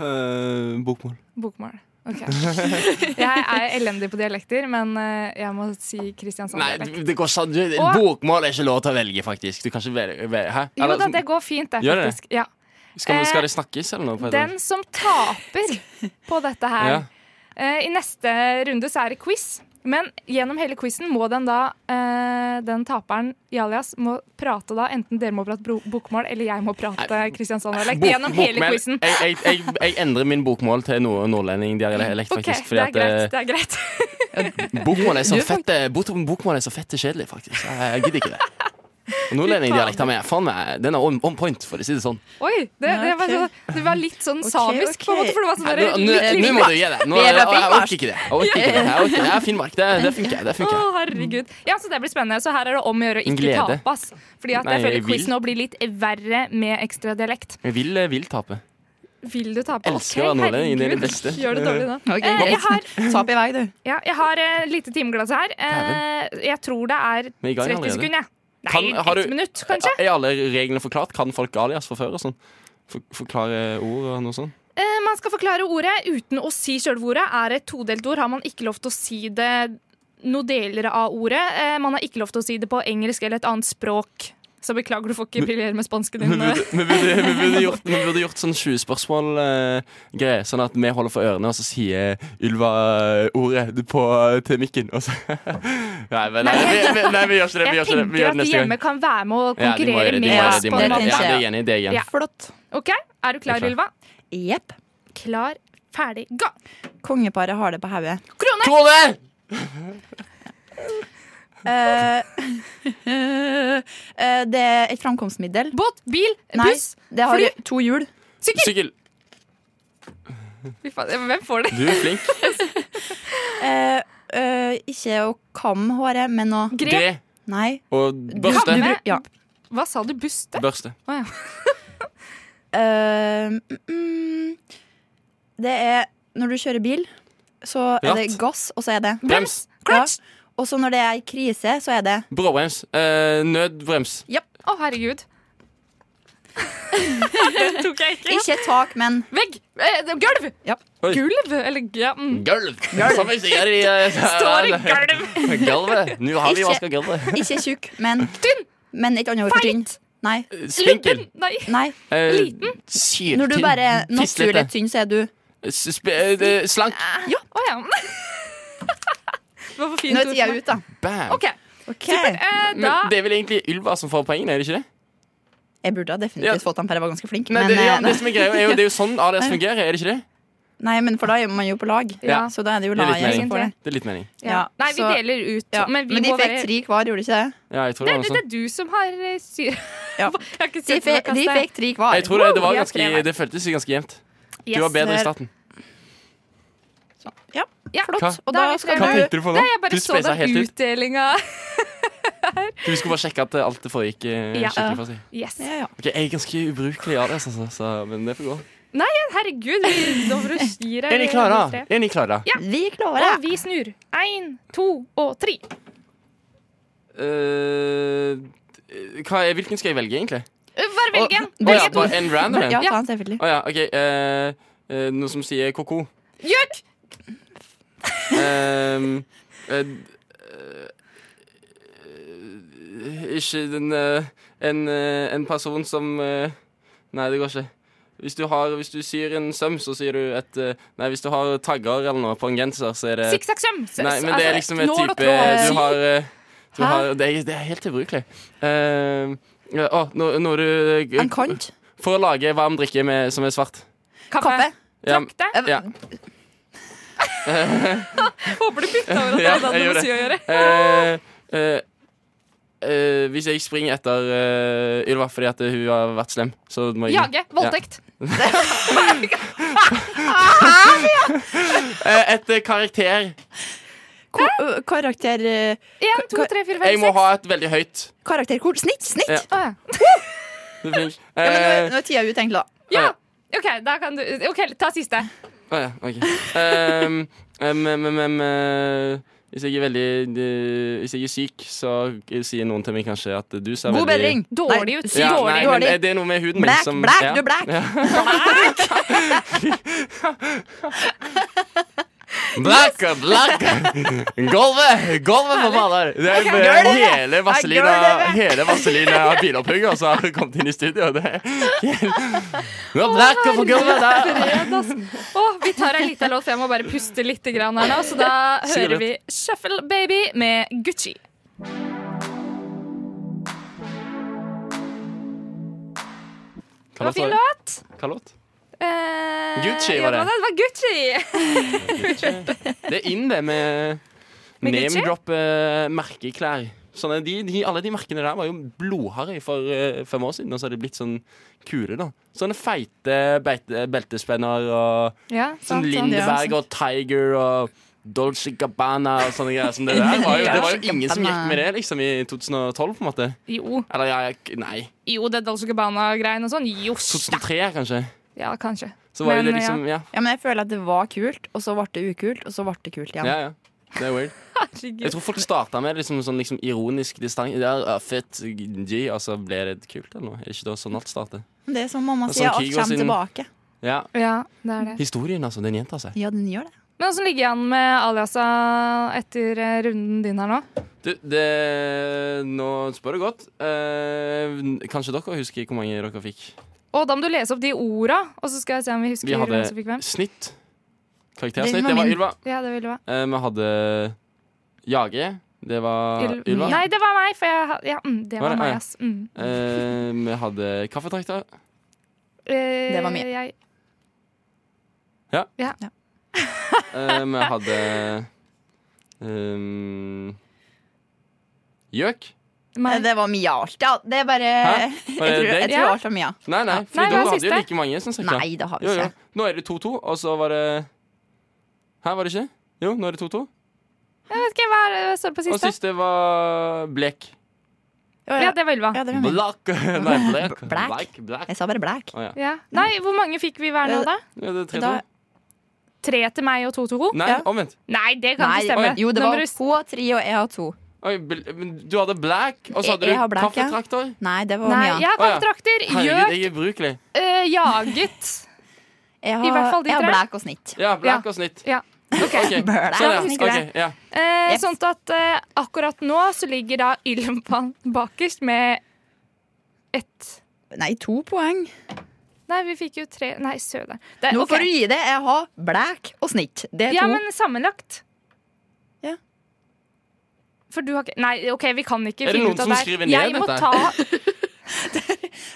B: Eh, bokmål.
C: Bokmål. Ok. Jeg er elendig på dialekter, men eh, jeg må si
B: Nei,
C: Kristiansand-dialekt.
B: det går sånn du-
C: Å.
B: Bokmål er ikke lov til å velge, faktisk. Du kan ikke velge, velge Hæ?
C: Jo
B: Eller, altså,
C: da, det går fint, det,
B: Gjør det?
C: faktisk. Ja.
B: skal, skal det snakkes, eller noe? på et
C: Den som taper på dette her
B: Ja.
C: eh, I neste runde så er det quiz. Men gjennom hele quizen må den da eh, Den taperen i alias må prate da enten dere må prate bro- bokmål eller jeg må prate Kristiansand-dialekt.
B: Bok-
C: Gjennom hele
B: bokmål.
C: quizen.
B: Jeg, jeg, jeg, jeg endrer min bokmål til noe nordlendingdialekt,
C: Ok,
B: faktisk.
C: det
B: fordi
C: er greit.
B: at
C: Det er greit.
B: eh, bokmål er så
D: Du er
B: fett eh, bok- Bokmål er så fett kjedelig, faktisk. Jeg, jeg gidder ikke det. Og Nordlendingdialekten min faen meg, den er on, on point, for å si det sånn.
C: Oi! Det,
D: Nei,
C: det, var,
D: ok.
C: så- det var litt sånn
D: Ok,
C: samisk, på en
D: ok.
C: måte. For det var sånn
B: Nei,
C: der,
B: Nå nå-
C: litt
B: nå må du gi deg. Nå,
D: Vi
B: jeg,
D: er fra
B: jeg, jeg
D: Finnmark.
B: orker ikke det. Jeg orker ikke det. Jeg orker, jeg er Finnmark. Det, det funker. Det
C: Å,
B: funker.
C: herregud. Ja, så Det blir spennende. Så her er det om å gjøre å
B: En
C: ikke
B: glede.
C: tape. ass. Fordi at
B: Nei,
C: jeg føler
B: jeg vil.
C: quizen nå blir litt verre med ekstra dialekt.
B: Jeg vil, eh, vil tape.
C: Vil du tape?
B: Elsker å
C: Ok,
B: være nordlending, det er det
C: herregud.
B: beste.
C: Gjør det dårlig nå.
D: Ok,
C: Eh, jeg har,
D: Tap i vei, du.
C: ja, jeg har et lite timeglass her. Eh, jeg tror det er
B: Vi er i gang
C: 30
B: allerede.
C: sekunder. jeg. Nei,
B: Kan- har
C: ett
B: du-
C: minutt, kanskje.
B: Er alle reglene forklart? Kan folk alias fra før? og sånn? For, forklare ord og noe sånt?
C: Eh, Man skal forklare ordet uten å si sjølve ordet. Er det et todelt ord, har man ikke lov til å si det noen deler av ordet. Eh, Man har ikke lov til å si det på engelsk eller et annet språk. Så beklager, du får ikke briljere med spansken
B: Vi
C: din. eh.
B: burde, vi burde, vi burde, gjort, vi burde gjort sånn 20 spørsmål-greie, sånn at vi holder for ørene, og så sier Ylva eh, ordet på, eh, til mikken. Og så. Nei, men, nei, vi, vi, nei, vi gjør ikke det. Vi gjør ikke det. Vi
C: Jeg tenker
B: gjør det
C: at de
B: neste
C: hjemme
B: gang.
C: kan være med og
B: Ja, de må
C: konkurrere
B: gjøre det, de
C: med
B: må gjøre
C: oss
B: det, de
C: på
B: må
C: en
D: det.
B: gjøre det. Ja,
C: måte.
B: det er jeg enig i. Det er jeg enig i.
C: Ja.
D: Flott.
C: Ok, Er du klar,
B: Jeg er
C: Ylva?
D: Jepp.
C: Klar, ferdig, gå!
D: Kongeparet har det på hodet.
C: Krone!
B: Krone!
D: Eh, eh, det er et framkomstmiddel.
C: Båt, bil,
D: Nei,
C: buss,
D: det har
C: fly.
D: to hjul.
C: sykkel!
B: Sykkel.
C: Fy faen, Hvem får det?
B: Du er flink.
D: Eh, eh, ikke å kamme håret, men å
C: Gre.
B: Gre.
D: Nei.
B: Og
D: Du-
B: børste.
D: du bru- ja.
C: Hva sa du? Buste?
B: Børste.
D: Eh, mm, mm, det er når du kjører bil, så er det
B: Ratt.
D: gass, og så er det
B: Brems.
C: Clutch!
D: Ja. Og så når det er ei krise, så er det
B: Bråbrems. Eh, nødbrems.
C: Å, herregud. Den tok jeg ikke.
D: ikke tak, men
C: Vegg! Eh, det- gulv!
D: Ja.
B: Oi.
C: Gulv? Eller ja, mm.
B: Gulv. Som jeg sier i eh,
C: Står det gulv?
B: Gulvet. Nå har vi
D: Ikke-
B: vaska gulvet.
D: ikke tjukk, men
C: Tynn!
D: Men et annet ord for tynn. Nei.
B: Spinkel.
C: Liten? Nei.
D: Nei.
B: Eh,
C: Liten.
B: Sykt
D: Når du
B: tynn.
D: bare er
B: Fislete.
D: naturlig tynn, så er du
B: S- sp- eh, det- Slank.
C: Ja. Å ja. Det var for fint
D: Nå
C: ord
D: er
C: for
D: tida
C: meg.
D: ute, da.
B: Bam.
C: OK.
D: Ok.
C: Eh, da
B: Men det er vel egentlig Ylva som får poengene, er det ikke det?
D: Jeg burde ha definitivt
B: Ja.
D: fått han, for jeg var ganske flink.
B: Nei,
D: men,
B: det, ja,
D: eh,
B: det som er greia, er jo, det er jo sånn ADS fungerer, er det ikke det?
D: nei, men for da er man jo på lag.
C: Ja.
D: Så da er det jo
B: Det er litt
D: laget som
C: mening.
D: får det.
B: Det er litt mening.
D: Ja,
C: Nei, vi
D: så-
C: deler ut.
D: Ja.
C: Men
D: Men,
C: vi
D: de
C: må
D: fikk
C: være
D: tre hver, gjorde de ikke det?
B: Ja, jeg tror det
C: det, er-
B: var
C: det
B: sånn.
C: er du som har eh, styr.
D: Ja.
C: Jeg har ikke
D: De,
C: sett
D: fe,
C: meg
D: de
C: kaste.
D: fikk tre hver.
B: sånn. Jeg tror det, det,
C: Wow,
B: var
C: vi har
B: ganske,
C: tre hver.
B: det føltes ganske jevnt. Du
C: Yes.
B: var bedre i starten.
D: Ja,
C: Ja.
D: flott.
B: Hva-
D: Og da
C: Da er vi
D: skal
B: Hva
C: tre
D: du
C: hver.
B: tenkte du på nå?
C: Nei, jeg
B: Du
C: bare så
B: spesa
C: den
B: helt ut.
C: utdelinga.
B: Vi skulle bare sjekke at eh, alt det foregikk eh,
C: Ja.
B: skikkelig for seg.
C: Yes.
D: ja, ja.
B: Ok, Jeg er ganske ubrukelig i ADS, altså, så, men det får gå.
C: Herregud, vi Dovre gir
B: Er ni klare? Er ni klare?
C: Ja.
D: Vi klarer
C: Og
D: det.
C: vi snur. Én, to og tre.
B: Eh, hva er, hvilken skal jeg velge, egentlig?
C: Eh, Bare
D: Og-
C: velg en.
B: Å
D: Det er
B: ja,
D: to.
B: bare en random en?
D: Ja,
B: Å
C: Ja.
D: ta han selvfølgelig.
B: ja, OK. eh, eh, noe som sier ko-ko.
C: Gjøk!
B: Ehm, eh, eh, Ikke den eh, en, eh, en person som eh, Nei, det går ikke. Hvis du, har, hvis du syr en søm, så sier du et eh, Nei, hvis du har tagger eller noe på en genser, så er det
C: Sikksakksøm.
B: Eh,
C: altså,
B: Nei, men det er liksom en
C: nål og
B: type
C: tråd.
B: Du har, eh, du
D: Hæ?
B: har det, er, det er helt ubrukelig. Ehm, ja, Å, når, når du eh,
D: En kant.
B: For å lage varm drikke med, som er svart.
C: Kaffe.
D: Kaffe. Eh,
B: Ja,
C: Trakte.
B: ja.
C: Håper du bytta over at det
B: Ja,
C: hadde
B: jeg
C: noe
B: gjorde
C: med sy å gjøre.
B: Eh, eh, eh, hvis jeg springer etter eh, Ylva fordi at hun har vært slem, så må jeg
C: Jage. Voldtekt.
B: Ja. Eh, et eh, karakter.
D: Ko ø, karakter... eh, ø,
C: Én, to, tre, fire,
B: Jeg
C: fem,
B: må
C: seks.
B: ha et veldig høyt.
D: Karakterkort. Snitt! Snitt!
B: Ja.
D: Ja.
C: Å, ja.
B: Du er flink.
D: men nå, er-
B: Eh,
D: nå er tida ute, egentlig. da.
C: Ja! OK, da kan du OK, ta siste.
B: å ja, ok. Ehm, em, em, em, em, eh, hvis jeg er veldig eh, Hvis jeg er syk, så sier noen til meg kanskje at du ser
D: God
B: veldig
D: bedring.
C: Dårlig
D: Nei,
C: ut.
B: Ja,
D: Dårlig,
B: nei,
D: dårlig.
B: Men, eh, det er noe med huden min
D: Black,
B: som
D: black,
B: ja.
D: du er black.
B: Ja. Black, black Golvet, golvet på bader Det er
D: gjør det.
B: hele Vaselina
D: gjør det.
B: Hele Vaselina bilopphugget Og så har hun kommet inn i studio Det er helt- Nå er black på gulvet der
C: Fred, altså. Å, vi tar en liten låt, for jeg må bare puste litt grann her nå. Så da hører vi Shuffle Baby med Gucci. Det var fin låt.
B: Hva låt?
C: Eh,
B: Gucci
C: ja,
B: var det.
C: Det var Gucci!
B: Det er inn det med
C: Med Gucci?
B: Name drop eh, merkeklær Sånne, de, de, alle de merkene der var jo blodharry for eh, fem år siden Og så har det blitt sånn kule da Sånne feite beite, beltespenner og
C: Ja,
B: Sånn
C: sant, sant.
B: Lindeberg og Tiger og Dolce Gabbana og sånne greier som det der. Var jo, det var jo ingen som gikk med det liksom i 2012, på en måte.
C: Jo,
B: Eller ja, ja, nei,
C: jo, det Dolce Gabbana-greien og sånn. Jo, sta.
B: 2003 kanskje.
C: Ja, kanskje.
B: Så var jo
C: Men,
B: det liksom Ja,
D: Ja, men jeg føler at det var kult, og så ble det ukult, og så ble det kult igjen.
B: ja. ja. Det er weird. Jeg
C: Herregud.
B: tror folk starta med liksom, sånn liksom, ironisk distanse. Ja, ja, fett, G, og så ble det kult eller noe. Er det ikke da sånn alt starter?
D: Men Det er som mamma
B: Det er
D: sier,
B: sånn
D: alt
B: Kygo
D: kommer
B: sin-
D: tilbake.
B: Ja.
C: Ja, det er det.
B: Historien, altså. Den gjentar seg.
D: Ja, den gjør det.
C: Men åssen ligger jeg an med aliasa etter eh, runden din her nå?
B: Du, det Nå spør du godt. Eh, kanskje dere husker hvor mange dere fikk?
C: Og da må du lese opp de orda, og så skal jeg se om vi husker
B: Vi hadde
C: hvem som fikk hvem.
B: snitt.
D: Det
B: Karaktersnitt.
D: var
B: Det var
D: min.
B: Ylva.
C: Ja, det ville være.
B: Eh, vi hadde Jage. Det var
C: Yl-
B: Ah, Ylva.
C: Nei, det var meg, for jeg ha- Ja, mm, det
B: Var det?
C: var
B: Ah,
C: meg,
B: ja.
C: ass. Mm.
B: Eh, vi hadde Kaffetrakter.
C: Det
D: var meg.
C: Jeg,
B: Eh, vi hadde ehm, Gjøk.
C: meg.
D: Eh, Det var Mia alt, ja. Det er bare
B: Hæ?
D: Jeg
B: Var det
D: tror, jeg
B: deg?
D: tror
C: Ja.
D: alt var Mia.
B: Nei, nei, for
C: Nei, det
B: dere
C: var
B: hadde
C: siste.
B: jo like mange. Sånn, cirka.
D: Nei, det har vi
B: jo, jo.
D: ikke.
B: Nå er det 2-2, og så var det Her var det ikke? Jo, nå er det 2-2.
C: Jeg vet ikke, hva er det står det på
B: Og
C: siste?
B: siste var Blek.
C: Ja, det var Ylva.
D: Ja, det var Mia.
B: Blak. Nei, Blek.
D: Black.
B: Black. Black.
D: Jeg sa bare black.
B: Å, ja.
C: Ja. Nei, hvor mange fikk vi hver nå,
D: Eh,
C: da?
B: Ja, det er 3-2.
D: Da-
C: Tre til meg og to til henne?
B: Nei,
D: Ja.
B: omvendt.
C: Nei, det kan ikke
D: Nei,
C: stemme.
D: jo, det
C: Nå må
D: var
C: du s-
D: hun har tre, og jeg har to.
B: Oi, bl- men du hadde Black, og så
D: Jeg-
B: hadde
D: jeg har
B: du
D: Black, ja.
B: Kaffetrakter.
D: Nei, det var
C: Nei,
D: Mia.
C: jeg har
B: Å, ja.
C: kaffetrakter,
B: Herregud,
C: gjøk,
B: jeg er ubrukelig.
C: eh, jaget
D: Jeg
C: i
D: har,
C: hvert fall de
D: jeg har
C: tre.
D: black og snitt.
B: Ja, black
C: Ja.
B: og snitt.
C: Ja.
B: Ok,
D: Black.
B: Sånn, ja.
C: Jeg husker
B: Ok, ja.
C: Eh,
D: Yes.
C: Sånn at eh, akkurat nå så ligger da Ylva bakerst med ett
D: Nei, to poeng.
C: Nei, vi fikk jo tre Nei, søder. Det-
D: Nå
C: ok.
D: får du gi det. Jeg har black og snitt. Det er
C: Ja,
D: to.
C: men sammenlagt.
D: Ja.
C: For du har ikke Nei, OK, vi kan ikke
B: Er det
C: finne
B: noen
C: ut
B: som
C: av det. her.
B: skriver ned
C: Jeg må
B: dette?
C: ta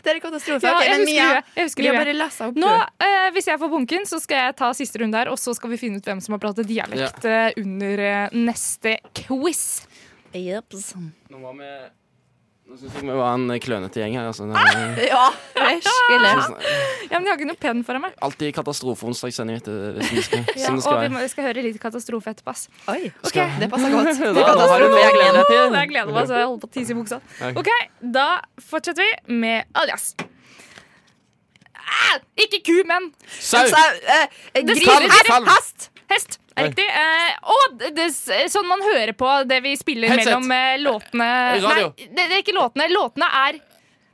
D: det er katastrofe.
C: Ja,
D: Ok,
C: jeg
D: men
C: husker
D: Mia,
C: det. Jeg husker
D: Mia
C: det.
D: bare lesa opp.
C: Nå,
D: du.
C: eh, Hvis jeg får bunken, så skal jeg ta siste runde her, og så skal vi finne ut hvem som har pratet dialekt eh, under eh, neste quiz.
D: Jeps.
B: Nå var vi Nå syns jeg vi var en klønete gjeng her. Altså. Det er-
D: Ja, virkelig.
C: Ja, men Jeg har ikke noe penn foran meg.
B: Alltid katastrofeonsdagssending, vet du. Hvis vi skal,
C: Ja,
B: som det Sånn skal
C: og vi,
B: være.
C: må, vi skal høre litt katastrofe etterpå. ass.
D: Oi,
B: Skal-
D: det passer godt. altså.
B: Da har du noe å glede deg
C: Åh, Jeg
B: til.
C: gleder meg, så jeg holder på å tisse i buksa.
B: Ok.
C: Ok, Da fortsetter vi med alias. Ah, ikke ku, men
B: Sau!
D: Så, eh, eh,
C: Det
D: Gris,
C: skriver-
D: herre,
B: Salm.
D: hest.
C: hest.
B: Oi.
C: Er riktig. Eh, og det, det, sånn man hører på det vi spiller
B: Headset.
C: mellom eh, låtene
B: Radio.
C: Nei, det, det er ikke låtene. Låtene er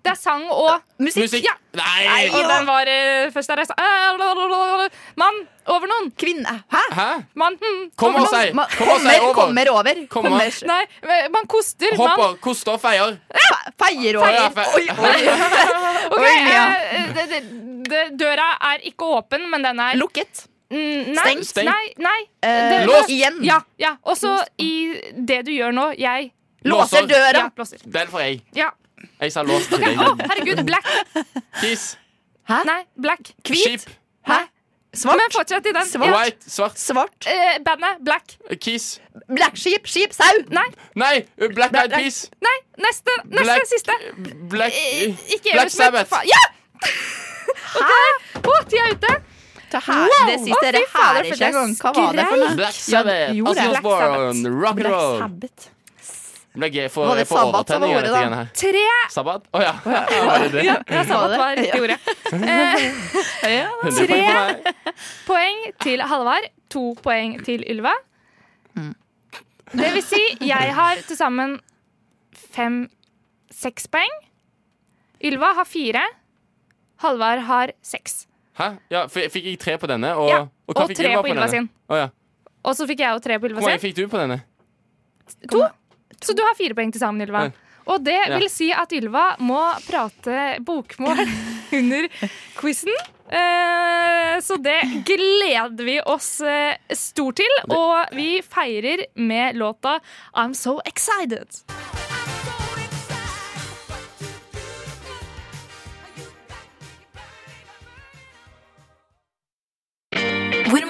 C: Det er sang og
D: Musikk.
B: Musikk.
C: Ja.
B: Nei!
C: Og den var eh, først der jeg sa eh, blablabla. Mann over noen.
D: Kvinne. Hæ?
B: Hæ?
C: Mann hm,
B: Kom
C: over
B: og si!
C: noen.
D: Ma-
B: Kom og si
D: Kommer,
B: over!
D: kommer over.
B: Kommer.
D: Kommer.
C: Nei, eh, man koster. Mann
B: Hopper, koster og feier.
D: Fe- Feier over.
B: Ja, fe-
D: Oi, oi.
C: Ok,
D: Oi, ja.
C: eh, det, det, det, døra er ikke åpen, men den er
D: Eh, Lukket.
C: Mm, nei,
D: Stengt.
B: Stengt.
C: Nei, nei.
D: Eh,
C: Det-
B: Låst.
D: Igjen.
C: Ja, ja. Og så i det du gjør nå, jeg
D: Låser
C: ja,
D: døra.
C: blåser.
B: Den får jeg.
C: Ja.
B: Jeg sa låst til
C: Å,
B: deg.
C: herregud, black.
B: Kis,
C: Nei, black.
B: skip,
D: Hæ?
C: Men fortsett i den. Ja.
B: white, svart,
D: Svart.
C: Eh, bandet, black.
B: kis.
D: Black sheep. Skip. Sau.
C: Nei,
B: Nei, Black Eyed
D: Black-
B: Peas.
C: nei, neste, neste
B: Black-
C: siste.
B: Black,
C: Eh, Ikke
B: Black
C: Eros, men
B: Sabbath.
C: fa- Ja! OK, Å, de er ute.
D: Ta her.
C: Wow.
D: Det siste
C: Å,
D: det
C: fy
D: her
C: fader, for
D: er ikke
C: det
D: engang. Hva var det for noe?
B: Black Sabbath.
D: jo, det
B: Ozzy
D: er
C: Black
B: Osbourne. Rock and
D: Black
B: roll.
D: Sabbath.
B: Black, jeg får,
D: Var det
B: jeg får
D: sabbat som var
B: overtenning av
D: ordet,
B: dette
D: da?
B: greiene her.
C: Tre
B: Sabbat? Å ja. Var det det?
C: Ja, sabbat var
D: Var det?
C: riktig ordet. Eh,
B: Hundre poeng for meg.
C: poeng til Halvard, to poeng til Ylva. Det vil si, jeg har til sammen fem seks poeng. Ylva har fire. Halvard har seks.
B: Hæ? Ja, f- fikk jeg tre på denne? Og,
C: Ja, og
B: fikk
C: tre
B: Ylva
C: på Ylva sin.
B: Å ja.
C: Og så fikk jeg jo tre på Ylva
B: Hvor mange
C: sin.
B: fikk du på denne?
C: To. Så du har fire poeng til sammen, Ylva.
B: Ja.
C: Og det
B: Ja.
C: vil si at Ylva må prate bokmål under quizen. Eh, Så det gleder vi oss eh, stort til, og vi feirer med låta I'm So Excited.
F: Hvor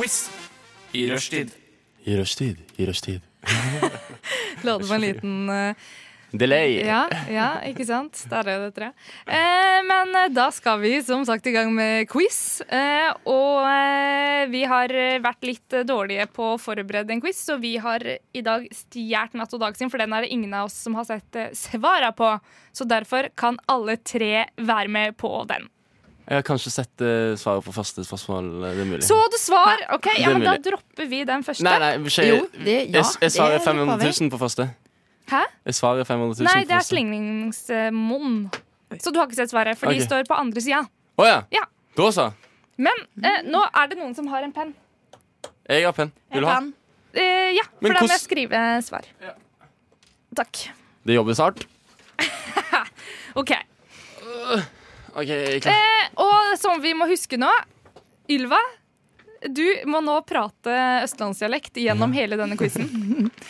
G: Quiz i rushtid.
B: I rushtid. I rushtid.
C: Lade meg en liten eh,
B: Delay.
C: ja, ja, ikke sant? Der er det tre. Eh, men eh, da skal vi som sagt i gang med quiz. Eh, og eh, vi har eh, vært litt eh, dårlige på å forberede en quiz, så vi har eh, i dag stjålet Natt og dag sin, for den er det ingen av oss som har sett eh, svara på. Så derfor kan alle tre være med på den.
B: Jeg har kanskje sett eh, svaret på første spørsmål. eh, Det er mulig.
C: Så du svar? OK, ja,
B: Det er
C: men da
B: mulig.
C: dropper vi den første.
B: Nei, nei, ikke,
D: Jo, det, ja,
B: jeg, jeg svarer
D: det
B: 500
D: var vi.
B: 000 på første.
C: Hæ?
B: Jeg svarer 500 000
C: Nei,
B: på
C: det er
B: første.
C: slingringsmonn. Så du har ikke sett svaret, for
B: Ok.
C: de står på andre sida.
B: Å ja.
C: Ja.
B: Da så.
C: Men eh, nå er det noen som har en penn.
B: Jeg har penn. Vil du ha?
D: Kan.
C: Eh, ja, for
B: Men
C: da må
B: hvordan-
C: jeg skrive svar. Takk.
B: Det jobbes hardt.
C: OK.
B: OK, jeg er klar.
C: Eh, og som vi må huske nå, Ylva, du må nå prate østlandsdialekt gjennom hele denne quizen.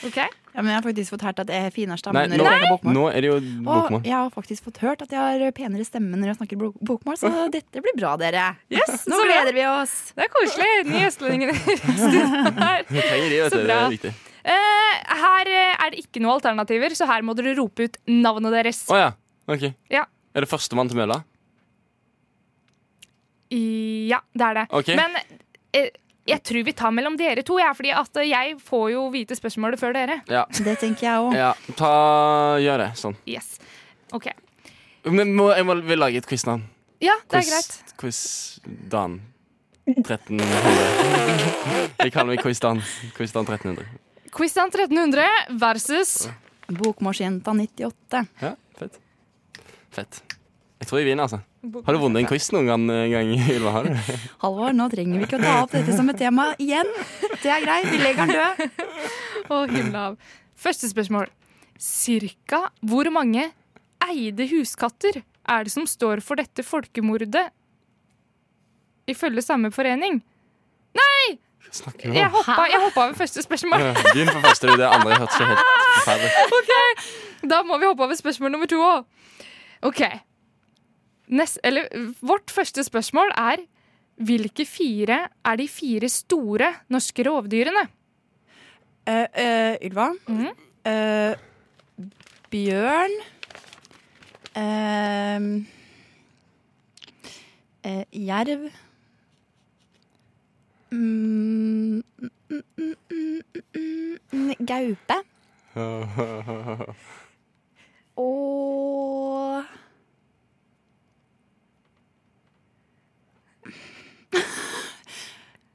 C: OK?
D: Ja, men jeg har faktisk fått hørt at jeg er finere stemme
B: Nei,
D: når jeg
B: nå,
D: snakker bokmål.
B: nå er det jo
D: Og
B: bokmål.
D: jeg har faktisk fått hørt at jeg har penere stemme når jeg snakker bok- bokmål, så dette blir bra, dere.
C: Yes,
D: Nå
C: så bra.
D: gleder vi oss.
C: Det er koselig. Nye østlendinger i studio her.
B: Vi trenger de, vet
C: Så
B: du. Det
C: bra.
B: er viktig.
C: Eh, her eh, er det ikke noen alternativer, så her må dere rope ut navnet deres.
B: Å ja. OK.
C: Ja.
B: Er det førstemann til mølla?
C: Ja, det er det.
B: Ok.
C: Men eh, jeg tror vi tar mellom dere to, ja, fordi at jeg får jo vite spørsmålet før dere.
B: Ja.
D: Det tenker jeg òg.
B: ja. Ta, gjør det. Sånn.
C: Yes. OK.
B: Men må, jeg må, vil lage et quiznavn.
C: Ja, det er
B: Quiz,
C: greit.
B: quiz Dan 1300. Jeg kaller meg Quiz Dan. Quiz Dan 1300.
C: Quizdan 1300 versus
D: Bokmålsjenta 98.
B: Ja, fett. Fett. Jeg tror jeg vinner, altså. Har du vunnet en quiz noen gang, eh, gang Ylva? Har du? det?
D: Halvor, nå trenger vi ikke å ta opp dette som et tema igjen. Det er greit, vi legger den død.
C: Og himla av. Første spørsmål. Cirka hvor mange eide huskatter er det som står for dette folkemordet, ifølge samme forening?
B: Snakker du
C: Jeg
B: om?
C: hoppa, jeg hoppa over første spørsmål.
B: Ja, Begynn på første, det andre hørtes jo helt forferdelig
C: Da må vi hoppe over spørsmål nummer to òg. OK. Nest, eller, vårt første spørsmål er hvilke fire er de fire store norske rovdyrene?
D: Eh, eh, Ylva.
C: Mhm.
D: Eh, bjørn. Ehm, eh, jerv. Mm, mm, mm, mm, mm, mm, mm, gaupe. Og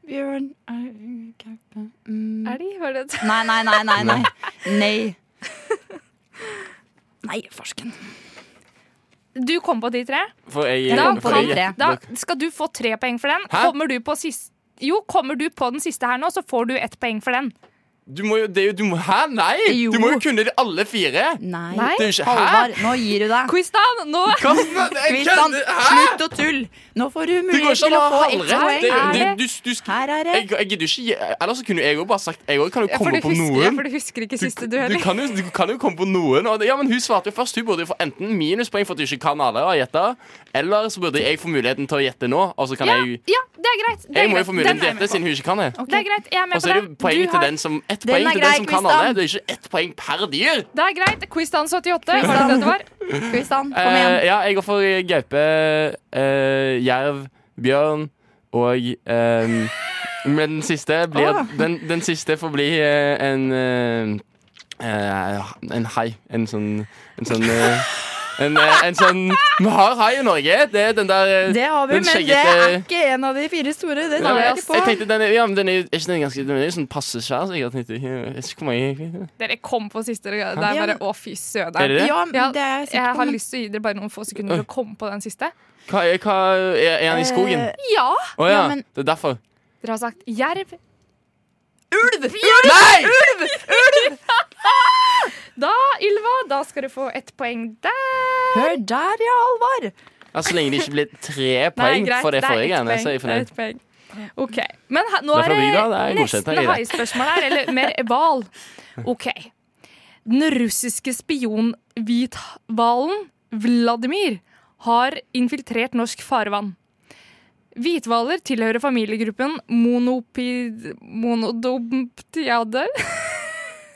D: Bjørn eh, Gaupe mm.
C: Er de? Var det
D: Nei, nei, nei, nei, nei. Nei. Nei, farsken.
C: Du kom på de tre?
B: For jeg,
D: Da
B: for
D: kan
B: jeg,
D: dere.
C: Da skal du få tre poeng for den.
B: Hæ?
C: Kommer du på sist jo, kommer du på den siste her nå, så får du ett poeng for den.
B: Du må jo, det er jo du må, Hæ, nei!
D: Jo.
B: Du må jo kunne de alle fire!
D: Nei.
C: Nei.
B: Det er jo ikke Hæ?
D: Halvard, nå gir du deg.
C: Quiz-down! Nå
B: Hva? Jeg
D: Kristian,
B: kødder! Hæ?
D: slutt å tulle. Nå får du
B: Det går
D: mulighet
B: ikke an
D: til å
B: å ha
D: få ett
B: halvrett. Det-
D: poeng.
B: det- du- du sk-
D: Her er det.
B: Jeg jeg gidder jo ikke gi- Ellers så kunne jeg jo bare sagt Jeg òg kan jo
C: Ja, for
B: komme
C: du
B: på
C: husker, ja,
B: noen.
C: for du husker
B: Du,
C: ikke siste du
B: du,
C: heller.
B: kan jo, du kan jo komme på noen. Og det, ja, men Hun svarte jo først. Hun burde jo få enten minuspoeng for at du ikke kan alle, og gjette, eller så burde jeg få muligheten til å gjette nå. Og så kan
C: Ja,
B: jeg
C: ja, det er greit. Det er
B: Jeg må jo
C: greit.
B: få
C: Den
B: muligheten til å
C: er jeg
B: gjette
C: med på.
B: siden hun ikke kan det.
C: Det er greit, jeg er
B: Og
C: med
B: så
C: på
B: er
C: det.
B: det poeng
C: Du
B: til
C: har-
B: den som ett
D: Den
B: poeng
D: er
B: til den som
D: grei,
B: kan
D: Kristian.
B: alle. Det er ikke ett poeng per dyr.
C: Det er greit. Quiz-down 78, var det det det var?
D: Kristian, kom
B: Eh,
D: igjen.
B: ja, jeg går for gaupe, eh, jerv, bjørn og eh, Men den siste blir
D: Ah.
B: den, den siste får bli eh, en eh, eh, En hai. En sånn En sånn eh, en, eh, en sånn Vi har hai i Norge. Det er den der eh,
D: Det har vi,
B: den
D: men det
B: skjeggete-
D: er ikke en av de fire store. Det
B: ja,
D: tar jeg
B: jeg,
D: ikke på.
B: tenkte den er, ja, men den er, jo- er ikke den ganske Den er jo sånn passe svær. Så jeg tenkte, jeg vet ikke hvor mange
C: Dere kom på siste. Det er
D: Ja,
C: bare
D: men-
C: å, fy
B: Er det
C: søderen.
B: det?
D: Ja, det
C: Ja,
D: er jeg
C: Jeg
D: sikker på.
C: har
D: men-
C: lyst til å gi dere bare noen få sekunder til å komme på den siste.
B: Hva, er- hva, er, er han i skogen?
D: Eh,
C: Ja!
B: Å ja,
D: ja, men-
B: det er derfor.
C: Dere har sagt jerv.
D: Ulv!
B: Nei!
C: Da, Ylva, da skal du få ett poeng der.
D: Hør der, ja, Halvard.
B: Ja, så lenge det ikke blir tre poeng
C: greit,
B: for det
C: er
B: forrige
C: ett
B: greiene,
C: poeng,
B: så er jeg fornøyd.
C: Det er ett poeng. OK. Men her, nå
B: Da får
C: er det,
B: vi da, det er godkjent, det
C: nesten
B: er greit.
C: haispørsmål her, eller mer hval. OK. Den russiske spionhvithvalen Vladimir har infiltrert norsk farvann. Hvithvaler tilhører familiegruppen monopid... monodomptiader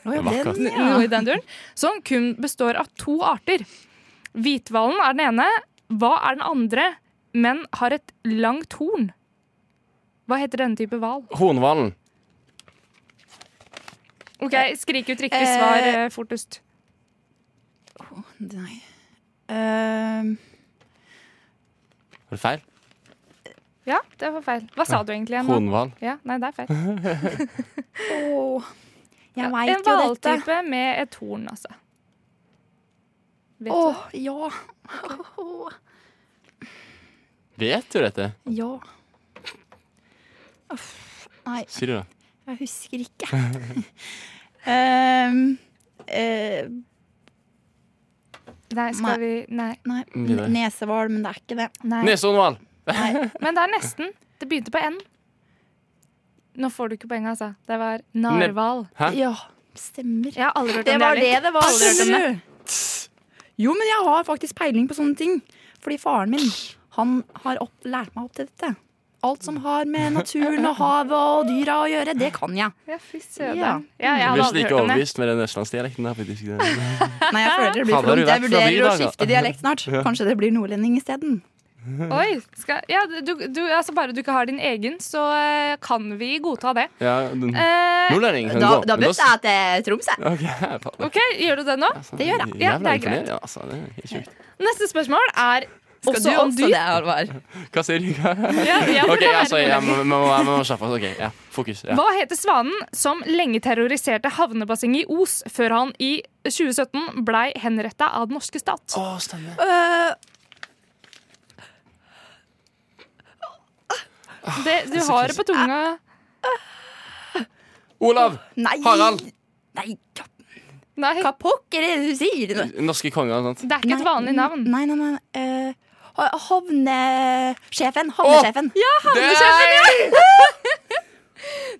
D: Å, ja,
B: Vakkert.
D: den, ja.
C: noe i den duren, som kun består av to arter. Hvithvalen er den ene. Hva er den andre, men har et langt horn? Hva heter denne type hval?
B: Hornhvalen.
C: Ok, Skrik ut riktig svar eh, fortest.
D: Nei. Ehm,
B: Var det feil?
C: Ja, det var feil. Hva sa du egentlig igjen? nå?
B: Hornhval.
C: Ja, nei, det er feil.
D: Åh, jeg
C: Ja, en
D: veit jo dette.
C: hvaltype med et horn, altså. Vet
D: Åh,
C: du?
D: ja.
B: Vet du dette?
D: Ja. Uff, nei,
B: Si det, da.
D: jeg husker ikke. Ehm, eh,
C: Nei,
D: Nei.
C: skal vi Nei.
D: nei,
B: Videre.
D: nesehval, men det er ikke det.
C: nei.
B: Neshornhval.
D: Nei.
C: Men det er nesten. Det begynte på N. Nå får du ikke poeng, altså. Det var narhval.
B: Hæ?
D: Ja, stemmer.
C: Jeg har aldri hørt om
D: Det var
C: det.
D: det det var.
C: Aldri hørt om det.
D: Jo, men jeg har faktisk peiling på sånne ting. Fordi faren min han har opp, lært meg opp til dette. Alt som har med naturen og havet og dyra å gjøre, det kan jeg.
C: Ja, fy søderen.
D: Ja.
C: Ja. jeg
B: Jeg blir ikke
C: hadde aldri
B: like
C: hørt om det.
B: overbevist med den østlandsdialekten der, faktisk. Det-
D: Nei, jeg føler det blir
B: Hadde
D: for
B: du
D: dumt.
B: vært
D: Jeg
B: fra
D: vurderer å
B: byen, da?
D: skifte dialekt snart. Kanskje det blir nordlending isteden.
C: Oi, skal, ja, du, du, altså bare du ikke har din egen, så eh, kan vi godta det.
B: Ja, den-
C: Eh,
B: Nordlending kan gå. Men da-
D: jeg til Troms, jeg.
B: Ok, faen.
C: OK, gjør du det nå?
B: Altså,
D: Det gjør jeg.
C: Ja,
B: jævla
C: det er
B: imponerende, Altså, det er helt sjukt.
C: Neste spørsmål er
D: Skal du
C: Også om
D: også
C: dyr.
D: det, Alvar?
B: Hva sier du?
C: Ja, ja, for
B: OK,
C: det er
B: altså,
C: det.
B: jeg må, må, jeg må skjerpe oss. Ok, ja, fokus. Ja.
C: Hva heter svanen som lenge terroriserte havnebassenget i Os, før han i 2017 blei henretta av den norske stat?
B: Å, stemmer.
C: Det, du har det på tunga.
B: Olav!
D: Nei.
B: Harald!
D: Nei, kapp-
C: Nei,
D: hva pokker er det du sier? Nå?
B: Norske konger og sånt.
C: det er ikke et vanlig navn.
D: Nei, nei, nei. eh, ha- havnesjefen. Havnesjefen. ja.
B: Nei!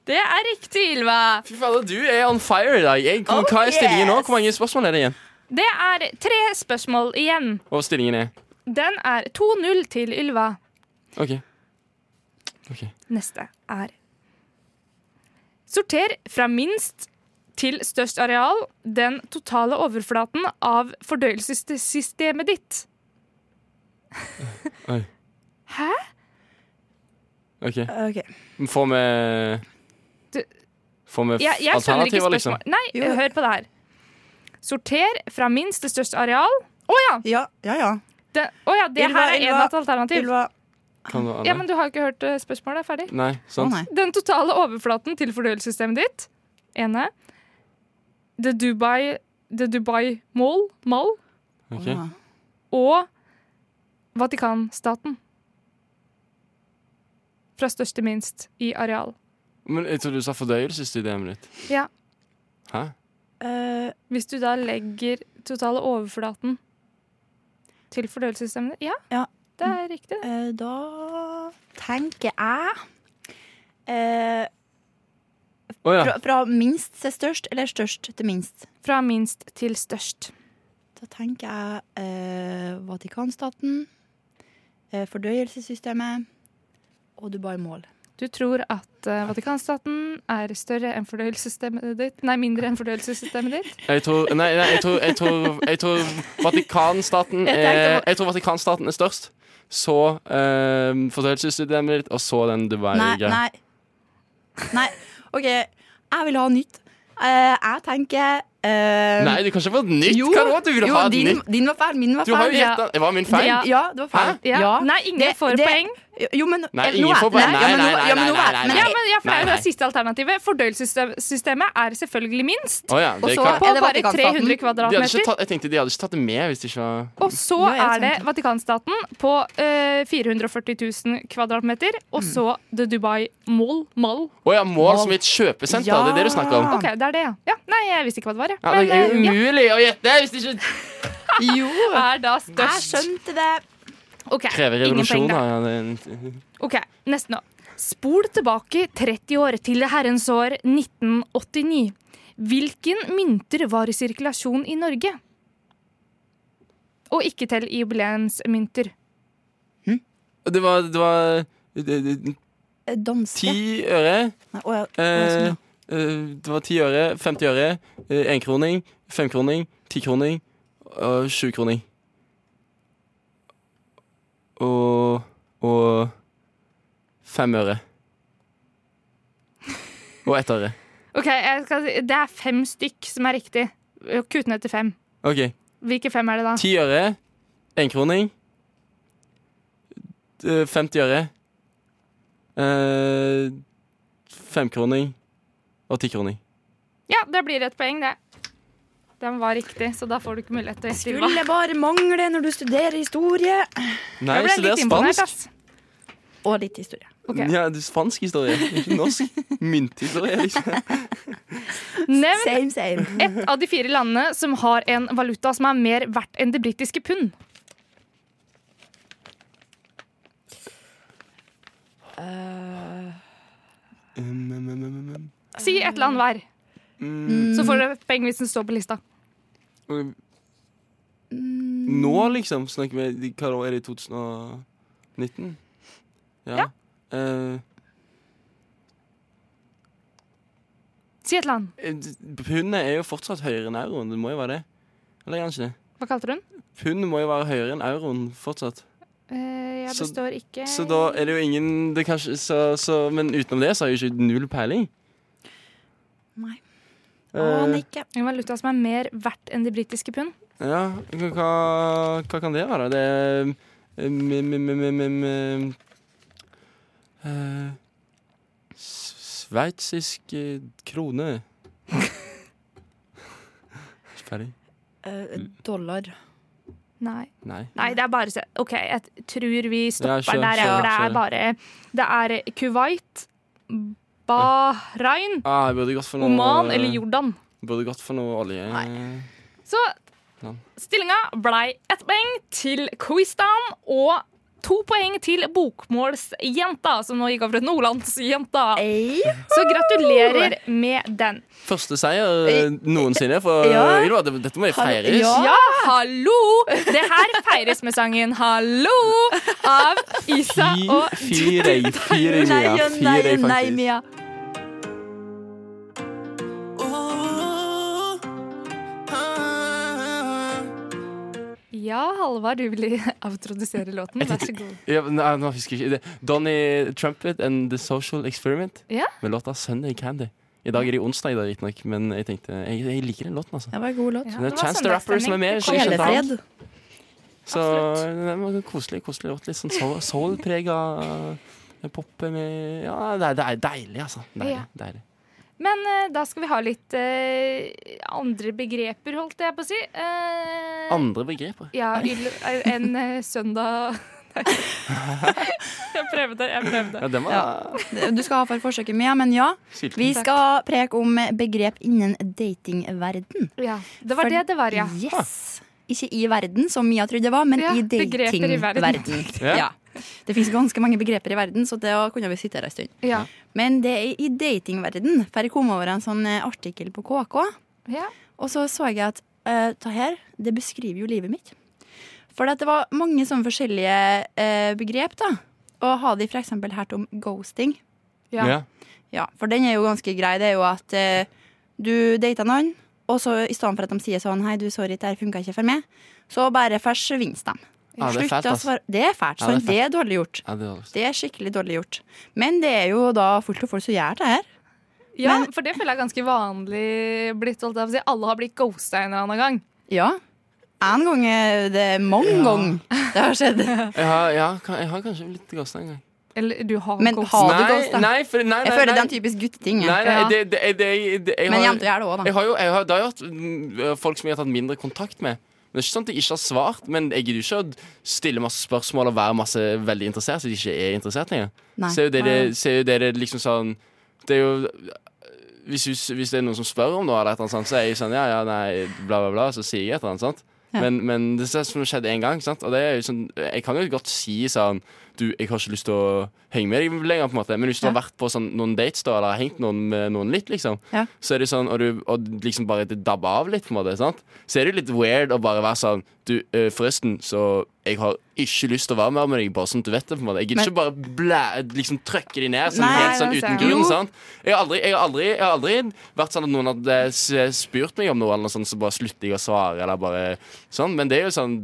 C: Det er riktig, Ylva.
B: Fy fader, du er on fire i dag. Jeg, hvor, hva
C: Oh,
B: er stillingen nå? Hvor mange spørsmål er det igjen?
C: Det er tre spørsmål igjen.
B: Og stillingen er
C: Den er 2-0 til Ylva.
B: OK. Ok.
C: Neste er Sorter fra minst til størst areal den totale overflaten av fordøyelsessystemet ditt.
B: Oi.
C: Hæ?
B: ok
D: Eh, Ok.
B: Får vi
C: Du-
B: Får vi
C: Jeg, jeg skjønner ikke
B: alternativer, liksom?
C: spørsmålet. Nei,
D: Jo.
C: hør på det her. Sorter fra minst til størst areal. Å ja!
D: Ja, ja, ja.
C: Det, å ja, det
D: Ylva,
C: her er en
D: Ylva,
C: av et alternativ.
D: Ylva.
B: Kan du, Anne?
C: Ja, men du har ikke hørt eh, spørsmålet ferdig.
B: Nei,
D: Å
B: sant?
D: nei.
C: Den totale overflaten til fordøyelsessystemet ditt. Ene. The Dubai, the Dubai Mall, Mall
B: Ok.
D: Å, ja.
C: og Vatikanstaten. Fra størst til minst i areal.
B: Men jeg trodde du sa fordøyelsessystemet mitt.
C: Ja.
B: Hæ?
D: Eh,
C: Hvis du da legger totale overflaten til fordøyelsessystemet ditt. Ja,
D: Ja.
C: det er riktig. det.
D: eh, da tenker jeg eh,
B: Å ja.
D: fra, fra minst til størst, eller størst til minst.
C: Fra minst til størst.
D: Da tenker jeg eh, Vatikanstaten, eh, fordøyelsessystemet og Dubai-mål.
C: Du tror at eh, Vatikanstaten er større enn fordøyelsessystemet ditt Nei, mindre enn fordøyelsessystemet ditt.
B: Jeg tror Nei, nei jeg, tror, jeg, tror, jeg tror Vatikanstaten er Jeg tror Vatikanstaten er størst. Så eh, fordøyelsessystemet ditt, og så den
D: Nei,
B: Dubai-greia.
D: nei. Nei, OK. Jeg vil ha nytt. Eh, jeg tenker eh,
B: Nei, du kan ikke få et nytt!
D: jo,
B: Hva da? Du ville
D: jo,
B: ha et
D: din,
B: nytt?
D: din var feil, min var
B: Du har
D: feil.
B: jo
C: Ja.
B: gjetta Var min feil?
C: Ja.
D: Ja, det var feil.
B: Hæ?
C: Ja. Nei, ingen
D: Det-
C: får
D: det-
C: poeng.
D: Jo, men
B: Nei,
D: eh, nå
B: ingen
D: er-
B: får poeng.
D: ja, men
B: Nei,
D: nå-
B: nei,
D: ja, men
B: nei,
D: nå er-
B: nei,
D: men-
B: nei,
C: Ja, men ja, for det
B: Nei,
C: er jo det
B: nei.
C: siste alternativet. Fordøyelsessystemet er selvfølgelig minst.
B: Å ja,
D: Og
B: det
D: så-
B: kan.
C: På
D: Er det
C: bare
B: De
D: Vatikanstaten?
C: 300
B: hadde ikke
C: kvadratmeter.
B: tatt, jeg tenkte de hadde ikke tatt det med hvis de ikke var
C: Og så
D: Jo, jeg
C: er det
D: tenkte.
C: Vatikanstaten på eh, 440 000 kvadratmeter. Og så The Dubai Mall. Mall.
B: Å ja, mål som i et kjøpesenter. Det er det du snakker om.
C: OK, det er det, ja. ja. Nei, jeg visste ikke hva det var, jeg.
B: Ja, det er
C: Men, eh,
B: umulig å gjette hvis det ikke
D: Jo,
C: ja, er da
D: jeg
C: størst.
D: skjønte det.
C: OK,
B: krever
C: ingen poeng
B: revolusjon. da.
C: der.
B: Ja, det er-
C: Ok, nesten nå. Spol tilbake 30 år til det herrens år 1989. Hvilken mynter var i sirkulasjon i Norge? Og ikke til jubileumsmynter.
B: det var, det var det- det-
D: Eh, Danske.
B: ti øre.
D: Nei, å, ja.
B: Eh,
D: Å, sånn,
B: eh, det var ti øre, 50 øre, eh, enkroning, femkroning, tikroning og sjukroning. Og og fem øre. Og ett øre.
C: Ok, jeg skal, si- Det er fem stykk som er riktig. Kutt ned til fem.
B: OK.
C: Hvilke fem er det da?
B: Ti øre, enkroning, eh, 50 øre, eh, femkroning og tikroning.
C: Ja, det blir et poeng, det. Den var riktig, så da får du ikke mulighet til
D: ja.
C: å gjette. Ylva.
D: Skulle bare mangle når du studerer historie.
B: Nei,
C: Jeg ble
B: så det er
C: litt imponert,
B: spansk.
C: ass.
D: Og litt historie.
C: Ok.
B: Ja, det er spansk historie, ikke norsk. Mynthistorie, liksom.
C: Nevn
D: Same, same.
C: ett av de fire landene som har en valuta som er mer verdt enn det britiske pund.
B: Um, um, um, um, um.
C: Si ett land hver. Så får dere poeng hvis den står på lista.
B: Og- Nå, liksom, snakker vi Hva da, er det 2019?
C: Ja.
B: Eh,
C: Si et land.
B: pundet er jo fortsatt høyere enn euroen, det må jo være det. Eller er han ikke det?
C: Hva kalte du den?
B: Pund må jo være høyere enn euroen fortsatt.
C: jeg
B: Så-
C: består ikke
B: Så da er det jo ingen det kan ikke- så, så, Men utenom det så har jeg jo ikke null peiling.
D: Nei.
B: Eh,
D: ikke.
C: En valuta som er mer verdt enn de britiske pund.
B: ja, hva, hva kan det være? Det er um, um, um, um, um, um, eh, s- eh, Sveitsisk eh, krone. Ferdig?
D: Eh, dollar.
C: Nei.
B: Nei.
C: Nei, det er bare se- OK, jeg tror vi
B: Ja,
C: stopper
B: kjør,
C: der, jeg,
B: kjør,
C: for det
B: kjør.
C: er bare Det er Kuwait, Bahrain,
B: Ah, jeg burde gått for noe
C: Oman eller Jordan.
B: Burde gått for noe olje.
C: Så
B: Ja.
C: stillinga blei ett poeng til Quizdan og to poeng til Bokmålsjenta, som nå gikk over til Nordlandsjenta. Så gratulerer med den.
B: Første seier eh, noensinne for
D: Ja.
B: Ylva. Det- Dette må jo
D: Har-
B: feires.
D: ja.
C: Ja, hallo! Det her feires med sangen 'Hallo' av Isa
B: Fy-
C: og
B: Fire i fire i Mia. Fire i faktisk.
D: Mia.
C: Ja, Halvard, du vil avtrodusere låten. Vær så god.
B: Ja, men nei, nå husker jeg ikke det. Donny Trumpet and The Social Experiment
C: Ja.
B: med låta Sunday Candy. I dag er det onsdag, i dag, riktignok, men jeg tenkte jeg, jeg liker den låten, altså.
D: Det var en god låt.
B: Det er
C: sånn
B: Chance the Rapper som er med.
C: Det kom-
B: Sjelefred.
D: Sjelefred.
B: Så det var en koselig, koselig låt. Litt sånn soul- soul-prega eh, pop med Ja, det er, det er deilig, altså. Deilig.
C: Ja.
B: deilig.
C: Men eh, da skal vi ha litt eh, andre begreper, holdt jeg på å si. Eh,
B: Andre begreper.
C: Ja, yl- en eh, søndag Nei. Jeg prøvde, jeg prøvde.
B: Ja, den var
D: Du skal ha for forsøket med, men ja.
B: sylten.
D: Vi skal preke om begrep innen datingverden.
C: Ja, Mm. det var det det var, ja.
D: Yes. Ikke i verden, som Mia trodde det var, men
C: Ja,
D: i
C: begreper i verden.
D: datingverden.
B: Ja.
D: Ja. Det fins ganske mange begreper i verden, så det kunne vi sitte her en stund.
C: ja.
D: Men det er i datingverden, for jeg kom over en sånn eh, artikkel på KK.
C: ja.
D: Og så så jeg at eh, det her, det beskriver jo livet mitt. For at det var mange sånne forskjellige eh, begrep, da. Og har de f.eks. hørt om ghosting?
C: ja.
B: Ja.
D: Ja, for den er jo ganske grei. Det er jo at eh, du dater noen, og så i stedet for at de sier sånn Hei, du, sorry, det her funka ikke for meg, så bare forsvinner de.
B: Ja, det er fælt,
D: Slutt å
B: ass.
D: svare- Det er fælt.
B: Ja, det er
D: Sånn, det er dårlig gjort.
B: Ja, det er dårlig.
D: Det er skikkelig dårlig gjort. Men det er jo da fullt og folk som gjør det her.
C: ja for det føler jeg er ganske vanlig blitt. Holdt jeg på å si. Alle har blitt ghosta en eller annen gang.
D: Ja. En gang er det mange ganger det har skjedd.
B: Jeg har, jeg har, jeg har kanskje blitt ghosta en gang.
C: Eller du har
D: Men
C: ghosta.
D: har du
B: Nei,
D: ghosta?
B: nei, for, nei, nei,
D: Jeg føler
B: nei.
D: det er en typisk gutteting. jeg.
B: Nei, nei,
C: Ja.
B: det, det, det, det, det, jeg
D: Men
B: har-
D: jenter gjør det òg, da.
B: Jeg har jo, jeg har, det har jo hatt mm, folk som jeg har tatt mindre kontakt med. Men det er ikke sånn at jeg ikke har svart, men jeg gidder jo ikke å stille masse spørsmål og være masse veldig interessert hvis jeg ikke er interessert lenger.
D: Nei.
B: Så er jo det, det, så er jo det, det liksom sånn Det er jo hvis, du- hvis det er noen som spør om noe, eller et eller annet sånt, så er jeg sånn ja, ja, nei, bla, bla, bla, så sier jeg et eller annet sånt.
D: Ja.
B: Men, men det er sånn som skjedde én gang, sant? og det er jo sånn, jeg kan jo godt si sånn Du, jeg har ikke lyst til å henge med deg lenger, på en måte, men hvis du
D: Ja.
B: har vært på sånn, noen dates da, eller har hengt noen med noen litt, liksom,
D: Ja.
B: så er det sånn, og du og liksom bare det dabber av litt, på en måte, sant? så er det jo litt weird å bare være sånn Du, eh, forresten, så jeg har ikke lyst til å være mer med deg, bare sånn at du vet det, på en måte. Jeg gidder
D: Men-
B: ikke bare blæ, liksom trøkke de ned sånn
D: Nei,
B: helt sånn
C: det ser
B: uten
C: jeg.
B: grunn.
D: Jo.
B: sant? Jeg har aldri, jeg har aldri, jeg har aldri vært sånn at noen hadde s- spurt meg om noe, eller noe sånt, så bare slutter jeg å svare, eller bare sånn. Men det er jo sånn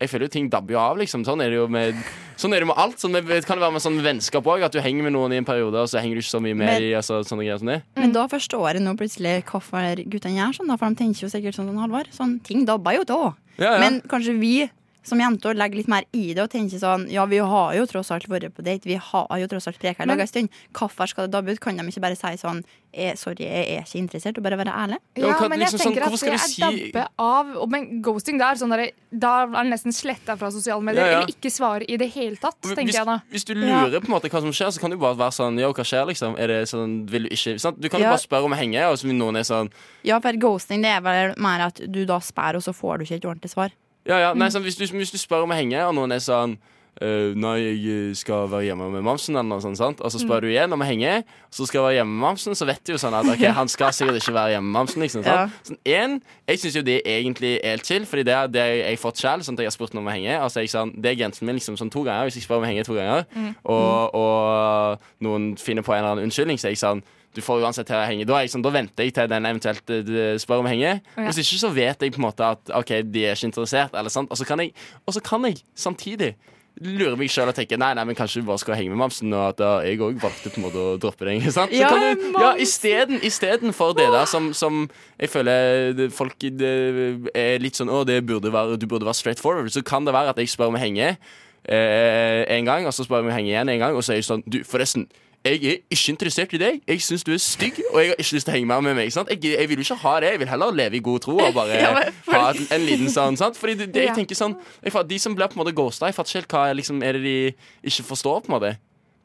B: jeg føler jo ting dabber jo av, liksom. Sånn er det jo med, sånn er det med alt. Sånn, det kan det være med sånn vennskap òg, at du henger med noen i en periode, og så henger du ikke så mye med
D: Men-
B: dem. Altså, sånne greier som det.
D: Men da forstår jeg nå plutselig hvorfor guttene gjør sånn, da, for de tenker jo sikkert sånn som Halvard. Sånn, ting dabber jo da.
B: Ja, ja.
D: Men kanskje vi som jenter legger litt mer i det og tenker sånn Ja, vi har jo tross alt vært på date, vi har jo tross alt preka i lag en stund. Hvorfor skal det dabbe ut? Kan de ikke bare si sånn eh, Sorry, jeg er ikke interessert, og bare være ærlig?
B: Ja,
C: Ja,
B: hva-
C: men jeg
B: liksom sånn,
C: tenker
B: hvorfor
C: at
B: skal
C: det
B: du
C: er
B: si-
C: dabbe av og- Men ghosting, da er sånn derre- da er den nesten sletta fra sosiale medier.
B: Ja, ja.
C: Eller ikke svare i det hele tatt, tenker
B: hvis,
C: jeg da.
B: hvis du lurer på en måte hva som skjer, så kan du bare være sånn Yo, hva skjer, liksom? Er det sånn, vil du ikke sant? Du kan jo
D: Ja.
B: bare spørre om å henge, og så vil noen er sånn
D: Ja, for ghosting det er vel mer at du da spær, og så får du ikke et ordentlig svar.
B: Ja, ja,
C: Mm.
B: nei, sånn, hvis, du, hvis du spør om å henge, og noen er sånn «Øh, Nei, jeg skal være hjemme med mamsen, eller noe sånt, sant? og så
C: Mm.
B: spør du igjen om å henge, så skal jeg være hjemme med mamsen, så vet du jo sånn at ok, han skal sikkert ikke være hjemme med mamsen, liksom. Sant? Sånn, en, jeg syns jo det egentlig er helt chill, fordi det er det jeg har fått selv, sånn at jeg har spurt noen om å henge. Altså, jeg, sånn, det er grensen min liksom sånn to ganger, hvis jeg spør om å henge to ganger, og, og noen finner på en eller annen unnskyldning, så er jeg sånn du får uansett til å henge. Da, er jeg sånn, da venter jeg til den eventuelt eh, d- spør om å henge.
C: Ja.
B: Hvis ikke så vet jeg på en måte at OK, de er ikke interessert, eller sant. Og så kan jeg, og så kan jeg samtidig lure meg sjøl og tenke nei, nei, men kanskje du bare skal henge med mamsen, og at da jeg òg valgte på en måte å droppe den. Sant? Så
D: Ja,
B: kan du, ja, isteden, istedenfor det der som, som jeg føler det- folk det er litt sånn Å, det burde være, du burde være straight forward, så kan det være at jeg spør om å henge. eh, en gang, og så bare vi henge igjen en gang, og så er jeg sånn Du, forresten. Jeg er ikke interessert i deg. Jeg syns du er stygg, og jeg har ikke lyst til å henge mer med meg. ikke Sant? Jeg, jeg vil jo ikke ha det. Jeg vil heller leve i god tro og bare
D: Ja, men for-
B: ha en, en liten sånn. Sant? Fordi det, det, jeg
C: Ja.
B: tenker sånn jeg, fa- De som blir på en måte ghosta, jeg fatter ikke helt hva er liksom, er det de ikke forstår. på en måte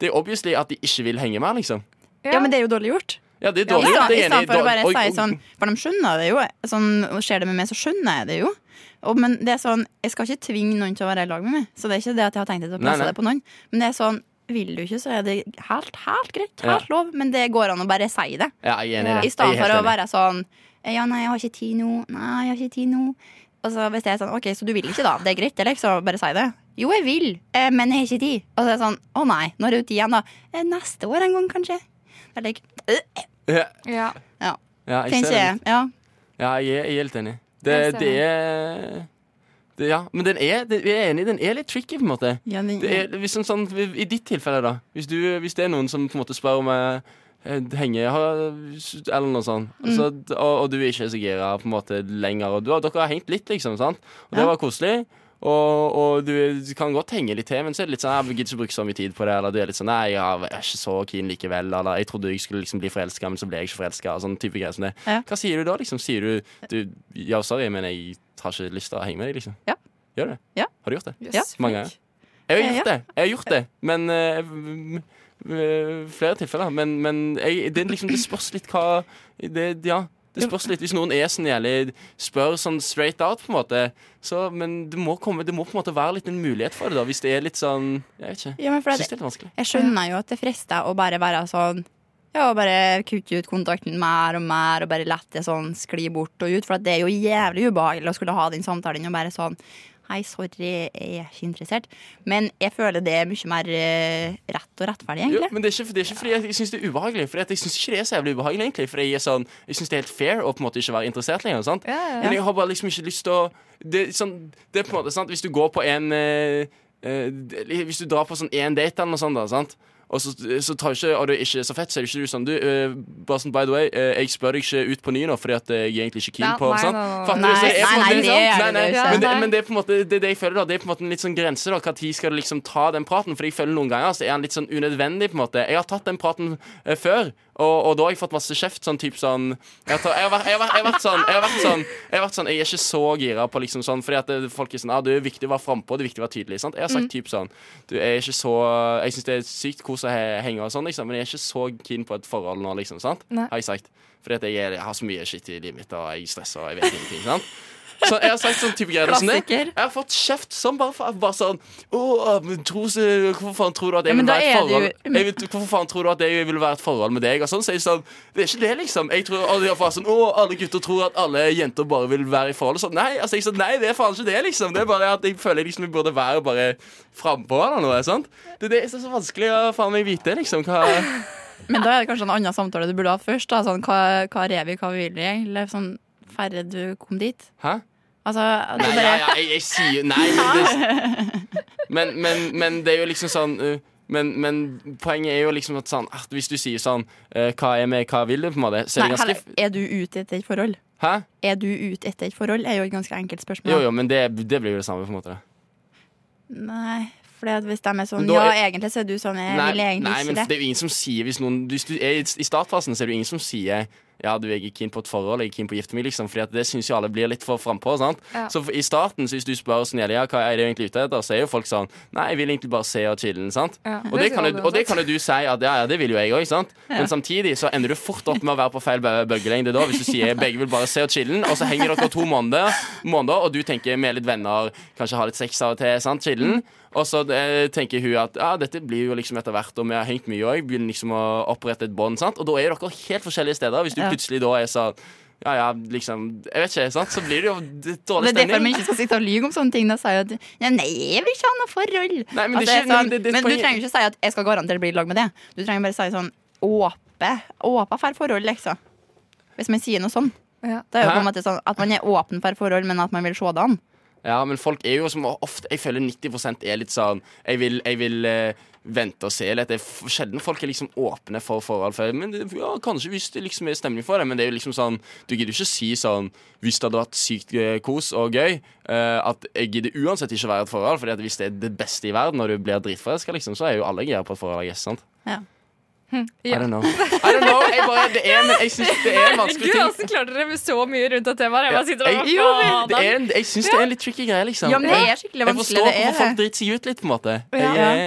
B: Det er obviously at de ikke vil henge mer, liksom.
D: Ja, men det er jo dårlig gjort.
B: Ja, det er
D: Ja, I
B: dårlig.
D: stedet-
B: det er
D: i
B: jeg enig i.
D: stedet for å
B: Dårlig-
D: bare
B: Oi,
D: si
B: oi.
D: sånn For de skjønner det jo. Sånn, skjer det med meg, så skjønner jeg det jo. Og, men det er sånn, jeg skal ikke tvinge noen til å være i lag med meg. Så det er ikke det at jeg har tenkt å
B: Nei,
D: presse
B: nei.
D: det på noen. Men det er sånn, vil du ikke, så er det helt, helt greit.
B: Ja.
D: Helt lov. Men det går an å bare si det.
B: Ja, jeg er enig i det.
D: I stedet
B: Jeg er helt
D: for å
B: enig.
D: være sånn Ja, nei, jeg har ikke tid nå. Nei, jeg har ikke tid nå. Og så hvis det er sånn OK, så du vil ikke, da. Det er greit, eller? Så bare si det. Jo, jeg vil, eh, men jeg har ikke tid. Og så er det sånn Å nei, når er det tid igjen, da? Eh, Neste år en gang, kanskje. Det er like, øh,
B: Ja,
C: Ja.
B: ja, jeg
D: tenker
B: ser det.
D: jeg. Ja.
B: Ja, jeg er jeg er helt enig. Det,
C: Jeg ser
B: det er det, Ja, men den er, det, jeg er enig, den er litt tricky, på en måte.
D: Ja, den,
B: Det er, hvis, en sånn, I ditt tilfelle, da. Hvis, du, hvis det er noen som på en måte spør om jeg henger har- eller noe sånt,
D: Mm.
B: altså, d- og, og du er ikke så gira på en måte lenger, og du, har- dere har hengt litt, liksom, sant? og det
D: Ja.
B: var koselig. Og, og du, du kan godt henge litt til, men så er det litt sånn Jeg gidder ikke bruke så mye tid på det. Eller du er litt sånn Nei, jeg er ikke så keen likevel. Eller jeg trodde jeg skulle liksom bli forelska, men så ble jeg ikke forelska. Sånn type greier som det.
D: Ja.
B: Hva sier du da, liksom? Sier du, du Ja, sorry, men jeg har ikke lyst til å henge med deg, liksom?
D: Ja.
B: Gjør du det?
D: Ja.
B: Har du gjort det?
D: Ja.
B: Mange ganger. Jeg har gjort det, jeg har gjort det men eh, m- m- Flere tilfeller. Men, men jeg, det, er liksom, det spørs litt hva det, Ja, det spørs litt. Hvis noen er sånn jævlig spør sånn straight out, på en måte så, Men det må, komme, det må på en måte være litt en mulighet for det, da, hvis det er litt sånn Jeg vet ikke.
D: Ja, men for
B: Jeg
D: at,
B: syns det er litt vanskelig.
D: jeg skjønner jo at det frister å bare være sånn Ja, og bare kutte ut kontakten mer og mer, og bare la det sånn skli bort og ut. For at det er jo jævlig ubehagelig å skulle ha den samtalen og bare sånn Hei, sorry, jeg er ikke interessert. Men jeg føler det er mye mer eh, rett og rettferdig,
B: Jo,
D: egentlig.
B: men det er, ikke, det er ikke fordi jeg, jeg syns det er ubehagelig. Fordi at jeg syns ikke det er så jævlig ubehagelig, egentlig. Fordi jeg, er sånn, jeg syns det er helt fair å på en måte ikke være interessert lenger. Sant?
C: Ja, ja, ja.
B: Men jeg har bare liksom ikke lyst til å det, er sånn, det er på en måte sant Hvis du går på en eh, eh, Hvis du drar på sånn én date eller noe sånt, da, sant? Og så, så tar ikke, og det er ikke så fett, så er det ikke du sånn Du, eh, bare sånn, by the way, eh, jeg spør deg ikke ut på ny nå, fordi at eh, jeg er egentlig ikke keen
C: Nei,
B: på
C: nei,
B: sant?
C: nei, nei,
B: Fatter du? Så
D: nei.
B: det er på en
D: Nei, nei,
B: måte- Nei, nei,
D: det er det ikke.
B: men det,
C: Nei.
B: men det er på en måte det, er det jeg føler da Det er på en måte en litt sånn grense da Hva tid skal du liksom ta den praten Fordi jeg føler noen ganger Så er han litt sånn unødvendig på en måte Jeg har tatt den praten eh, før og, og da har jeg fått masse kjeft Sånn typ sånn Jeg har, ta, jeg har, vært, jeg har, vært, jeg har vært sånn Jeg har vært sånn Jeg har vært sånn Jeg er ikke så gira på liksom sånn Fordi at det, folk er sånn Ja, det er viktig å være frempå Det er viktig å være tydelig sant? Jeg har sagt
C: Mm.
B: typ sånn Du jeg er ikke så Jeg synes det er sykt kos å he- henge og sånn liksom Men jeg er ikke så keen på et forhold nå liksom Sant?
C: Nei.
B: Har jeg sagt Fordi at jeg, er, jeg har så mye shit i livet mitt Og jeg stresser og jeg vet ingenting Sant? Så jeg har sagt sånn type greier som det.
D: Klassiker.
B: Jeg har fått kjeft som bare, fa- bare sånn Åh, men tro så- Hvorfor faen tror du at jeg
D: Ja, men
B: vil
D: da
B: være et
D: er det jo-
B: forhold jeg vet, Hvorfor faen tror du at jeg vil være et forhold med deg? Og sånn, så jeg sånn Det er ikke det, liksom. Jeg tror alle, bare sånn, Åh, alle gutter tror at alle jenter bare vil være i forhold. Og sånn. Nei, altså, jeg sånn, nei, det er faen ikke det, liksom. Det er bare at jeg føler liksom jeg burde være bare frampå eller noe. sant? Det, det er så så vanskelig å faen meg vite, liksom. Hva
D: Men da er det kanskje en annen samtale du burde ha først. Da. Sånn, hva, hva rev vi, hva vil vi? Eller sånn Færre du kom dit.
B: Hæ?
D: Altså, du
B: Nei,
D: bare
B: ja, ja, jeg, jeg sier Nei, men det, men, men, men det er jo liksom sånn uh, men, men poenget er jo liksom at, sånn, at hvis du sier sånn uh, Hva er med, hva vil du? på en måte Så er
D: Nei,
B: det ganske
D: heller, er du ute etter et forhold?
B: Hæ?
D: Er du ute etter et forhold? er jo et ganske enkelt spørsmål.
B: Jo, jo, men det, det blir jo det samme, på en måte.
D: Nei, for hvis de er sånn
B: Men da
D: Ja,
B: er-
D: egentlig så er du sånn Jeg
B: Nei,
D: vil egentlig
B: nei, men
D: ikke
B: det
D: det.
B: er jo ingen som sier Hvis, noen, hvis du er i, i startfasen, så er det jo ingen som sier ja, du jeg er keen på et forhold, jeg er keen på å gifte meg, liksom. Fordi at det syns jo alle blir litt for frampå. sant?
C: Ja.
B: Så for- i starten, så hvis du spør sånn, ja, hva er det egentlig ute etter, så er jo folk sånn Nei, jeg vil egentlig bare se og chille. sant?
C: Ja,
B: Og det, kan
C: sier
B: jo,
C: alle
B: og det
C: uansett.
B: kan jo du si at ja, ja, det vil jo jeg òg, sant? Men samtidig så ender du fort opp med å være på feil bø- bølgelengde da, hvis du sier begge vil bare se og chille'n, og så henger dere to måneder, måneder og du tenker vi er litt venner, kanskje ha litt sex av og til, sant, chille'n. Og så eh, tenker hun at ja, dette blir jo liksom etter hvert, og vi har hengt mye òg, begynner liksom å opprette et bånd, sant. Og da er dere helt forskjellige steder. Hvis du
D: Ja.
B: plutselig da er sånn ja, ja, liksom Jeg vet ikke, sant? Så blir det jo
D: Og det
B: dårlig
D: er derfor man
B: stemning.
D: ikke skal sitte og lyve om sånne ting. Da sier jeg at ja, Nei, jeg vil ikke ha noe forhold.
B: Nei, men det er
D: Altså,
B: ikke-
D: sånn,
B: men det- det-
D: men du trenger ikke si at jeg skal garantert bli i lag med det. Du trenger bare si sånn åpe, åpe for forhold, liksom. Hvis man sier noe sånn.
C: Ja.
D: Det er jo på
B: Hæ?
D: en måte sånn at man er åpen for forhold, men at man vil se det an.
B: Ja, men folk er jo som ofte Jeg føler 90 er litt sånn Jeg vil, jeg vil eh, vente og se litt. Det er f- sjelden folk er liksom åpne for forhold. For, men det, ja, kanskje hvis det liksom er stemning for det, men det er jo liksom sånn Du gidder jo ikke si sånn Hvis det hadde vært sykt eh, kos og gøy, eh, at jeg gidder uansett ikke være i et forhold, Fordi at hvis det er det beste i verden, og du blir dritforelska, liksom, så er jo alle gira på et forhold, I guess, sant?
D: Ja.
B: I don't know. I don't know. Jeg bare, det er, jeg syns det er en vanskelig
C: Gud,
B: ting.
C: hvordan klarte dere så mye rundt det temaet? Jeg bare sitter og
B: Jeg,
C: Faen,
B: det er en, jeg syns det er en litt tricky greie, liksom.
D: Ja, men det er skikkelig
B: jeg
D: vanskelig.
B: forstår
D: det er
B: hvorfor folk
D: det.
B: driter seg ut litt, på en måte.
C: Ja.
B: Jeg,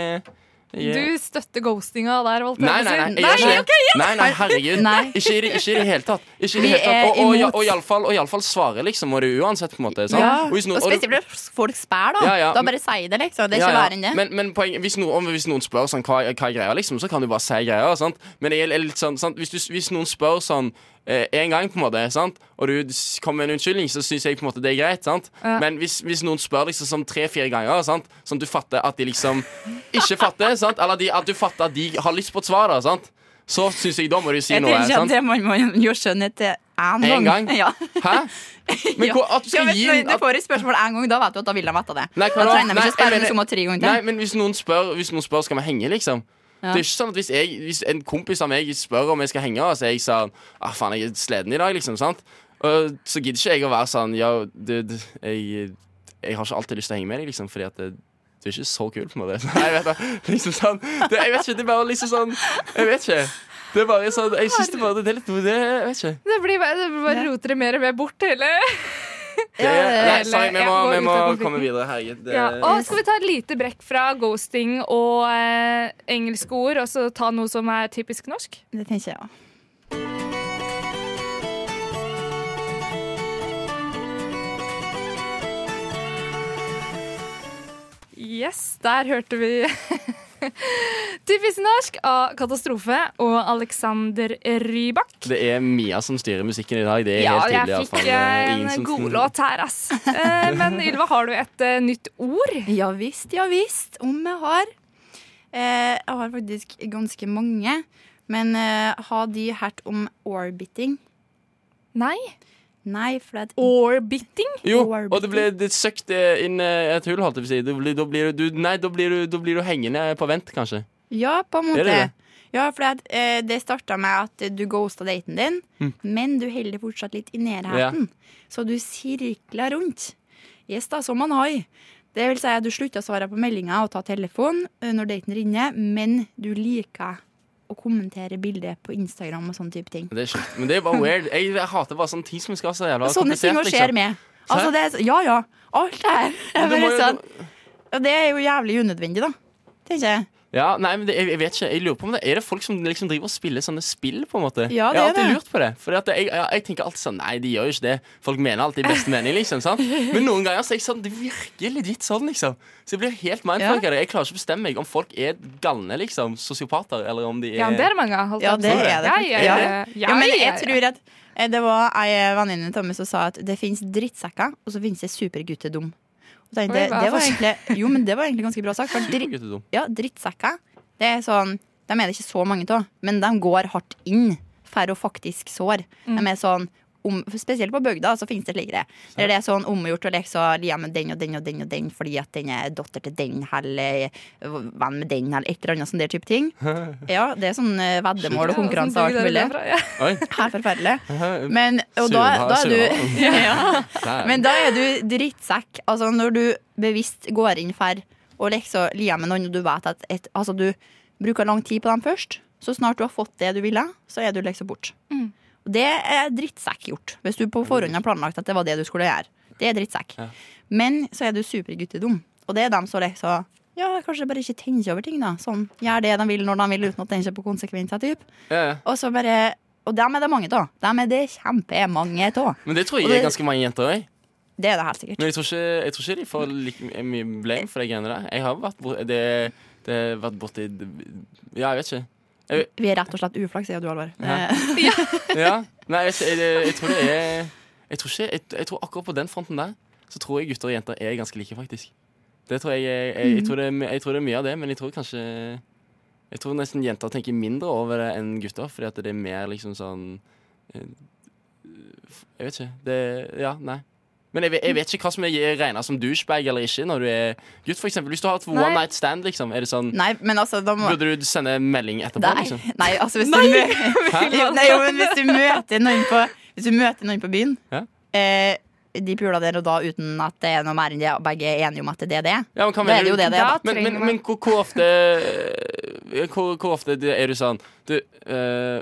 B: jeg,
C: Du støtter ghostinga der, holdt jeg
B: Nei,
C: på å
B: nei,
C: si.
B: nei, jeg gjør ikke det. Nei, nei, herregud.
D: Nei.
B: Ikke, i det- ikke i det hele tatt. Ikke i
D: Vi
B: det hele tatt.
D: er
B: Og, og, ja,
D: imot.
B: og iallfall, og iallfall svaret, liksom, må du uansett, på en måte. Sant?
D: Ja.
B: Og
D: Og
B: hvis noen- og du-
D: spesielt hvis folk spør, da.
B: Ja, ja.
D: Da bare si det, liksom. Det er
B: Ja,
D: ikke
B: ja.
D: verre enn det.
B: Men, men poenget- hvis, noen, om, hvis noen spør sånn, hva, hva er greia, liksom, så kan du bare si greia. Sant? Men jeg er litt sånn, sant? Hvis, du, hvis noen spør sånn eh, en gang, på en måte, sant? og du s- kommer med en unnskyldning, så syns jeg på en måte det er greit. Sant?
C: Ja.
B: Men hvis, hvis noen spør liksom sånn tre-fire ganger, sant? sånn at du fatter at de liksom ikke fatter, sant? eller de, at du fatter at de har lyst på et svar, da, sant? så syns jeg da må du si
D: jeg tror
B: noe.
D: ikke at
B: Sant?
D: det man må gjøre skjønnhet til én
B: En gang?
D: Ja.
B: Hæ? Men
D: Ja.
B: hvor, at du
D: Ja,
B: skal
D: men
B: gi
D: når
B: en-
D: du får et spørsmål én gang, da vet du at da vil de vite det.
B: Nei, hva
D: da
B: da?
D: trenger de
B: Nei,
D: ikke
B: jeg
D: spørre om
B: mener-
C: liksom
D: du må tre ganger
B: Nei,
D: til.
B: men hvis noen spør, hvis noen spør skal vi henge, liksom. Det er ikke sånn at Hvis, jeg, hvis en kompis av meg spør om jeg skal henge, og så er jeg sånn ah, faen, jeg er sliten i dag, liksom, sant? Og så gidder ikke jeg å være sånn Ja, du, du jeg, jeg har ikke alltid lyst til å henge med deg, liksom, fordi at det, du er ikke så kul, på en måte. Nei, jeg vet da. Liksom sånn. Det, jeg vet ikke. Det er bare liksom sånn Jeg vet ikke. Det er bare sånn Jeg syns det bare Det er litt det, Jeg vet ikke.
C: Det blir bare, det blir bare roter det mer og mer bort hele.
B: Det, nei, sorry, vi må, vi
C: Jeg går ut
B: må
C: av konflikten.
B: komme videre. Herregud. Det,
C: Ja. Og skal vi ta et lite brekk fra ghosting og eh, engelske ord, og så ta noe som er typisk norsk?
D: Det tenker jeg, ja.
C: Yes, der hørte vi Typisk norsk av Katastrofe og Alexander Rybak.
B: Det er Mia som styrer musikken i dag. Det er
C: Ja,
B: helt tydelig. i
C: jeg
B: hvert fall.
C: fikk eh, en
B: Ingen som-
C: god låt her, ass. Eh, Men Ylva, har du et eh, nytt ord?
D: Ja visst, ja visst. Om jeg har eh, Jeg har faktisk ganske mange. Men eh, har de hørt om orbiting?
C: Nei.
D: Nei, for det er et
C: Orbiting?
B: Jo,
D: Warbiting.
B: og det ble det søkt eh, inn eh, et hull, holdt jeg på å si. Da blir, da blir du, nei, da blir du, da blir du hengende på vent, kanskje.
D: Ja, på en måte.
B: Er det det?
D: Ja, for det, er et- eh, det starta med at du ghosta daten din,
B: Mm.
D: men du holder fortsatt litt i nærheten. Så du sirkler rundt. Yes da, som man har. Det vil si at du slutter å svare på meldinger og ta telefonen eh, når daten ringer, men du liker å kommentere bilder på Instagram og sånne type ting.
B: Det er kjipt, men det er bare weird. Jeg, jeg hater bare sånne ting som skal være så jævla
D: Sånne
B: komplisert,
D: ting
B: liksom.
D: også skjer med. Altså, det er, så- ja, ja. Alt det her. Jeg
B: Men du
D: bare
B: må jo-
D: sånn, og det er jo jævlig unødvendig, da. Tenker jeg.
B: Ja, nei, men det, jeg, jeg vet ikke. Jeg lurer på om det Er det folk som liksom driver og spiller sånne spill, på en måte?
D: Ja, det
B: jeg har
D: er
B: alltid
D: det.
B: lurt på det. For jeg, jeg, jeg tenker alltid sånn Nei, de gjør jo ikke det. Folk mener alltid i beste mening, liksom. sant? Men noen ganger så er jeg sånn Det virker legit sånn, liksom. Så jeg blir helt mindfuck av det. Jeg klarer ikke å bestemme meg om folk er galne, liksom. Sosiopater, eller om de er
C: Ja, det er det mange av. holdt
D: Ja,
C: jeg på å
D: det
C: si.
D: er det
C: Ja,
D: faktisk.
C: ja,
D: Ja,
C: ja, ja,
D: Ja, men jeg
C: ja, ja.
D: tror at eh, det var ei venninne av meg som sa at det fins drittsekker, og så fins det superguttedum. Og tenkte,
C: Oi,
D: jeg,
C: hva
D: det, var
C: for-
D: egentlig, jo, men det var egentlig ganske bra sagt. For dri,
B: Guttedom.
D: ja, drittsekker det er sånn, De er det ikke så mange av, men de går hardt inn for å faktisk såre. De er sånn om, for spesielt på bygda så finnes det slik det. Der det er sånn omgjort å leke så lia med den og den og den og den fordi at den er datter til den eller eh, venn med den eller et eller annet sånn der type ting. Ja, det er sånn eh, veddemål
C: altså,
D: og konkurranse og alt mulig.
C: Ja.
B: Oi.
D: Helt forferdelig.
B: Hæ?
D: Men, og da,
B: Surna-
D: da er du,
B: surna. Nei.
D: men da er du drittsekk. Altså når du bevisst går inn for å lekse og lie med noen, og du vet at et, altså, du bruker lang tid på dem først, så snart du har fått det du ville, så er du leksa bort. Og Det er drittsekk gjort, hvis du på forhånd har planlagt at det var det du skulle gjøre. Det er drittsekk. Men så er du superguttedum, og det er dem som liksom ja, kanskje bare ikke tenker over ting, da. Sånn, Gjør det de vil når de vil, uten å tenke på konsekvenser. Typ.
B: Ja, ja.
D: Og så bare Og dem er det mange av. Dem er det kjempemange av.
B: Men det tror jeg
D: Og det-
B: er ganske mange jenter òg.
D: Det er det helt sikkert.
B: Men jeg tror, ikke, jeg tror ikke de får like mye blame for de greiene der. Jeg har vært bort, det, det har vært borti Ja, jeg vet ikke.
D: Vi er rett og slett uflaks, sier du, Alvar.
B: Ja.
D: Eh,
B: Ja. Nei, jeg, jeg, jeg tror det er jeg tror, ikke, jeg, jeg tror akkurat på den fronten der så tror jeg gutter og jenter er ganske like, faktisk. Det tror jeg, jeg, jeg, jeg, tror det, er my- jeg tror det er mye av det, men jeg tror kanskje Jeg tror nesten jenter tenker mindre over det enn gutter, fordi at det er mer liksom sånn eh, Jeg vet ikke. Det Ja, nei. Men jeg, ve- jeg vet ikke hva som er regna som douchebag eller ikke når du er gutt. For eksempel, hvis du har hatt one
C: Nei.
B: night stand, liksom, er det sånn
D: Nei, men altså, da må
B: Burde du sende melding etterpå?
D: Nei,
B: Liksom?
D: nei altså hvis du, mø- jo, nei, jo, men hvis du møter noen på Hvis du møter noen på byen
B: Ja.
D: eh, De pula der og da uten at det er noe mer enn det, og begge er enige om at det er det.
B: Ja, men hva
D: Da er
B: mener
D: det jo
B: du?
D: det det er, da.
B: Men, men,
C: trenger man-
B: men hvor, hvor ofte eh, hvor, hvor ofte det- er du sånn Du eh,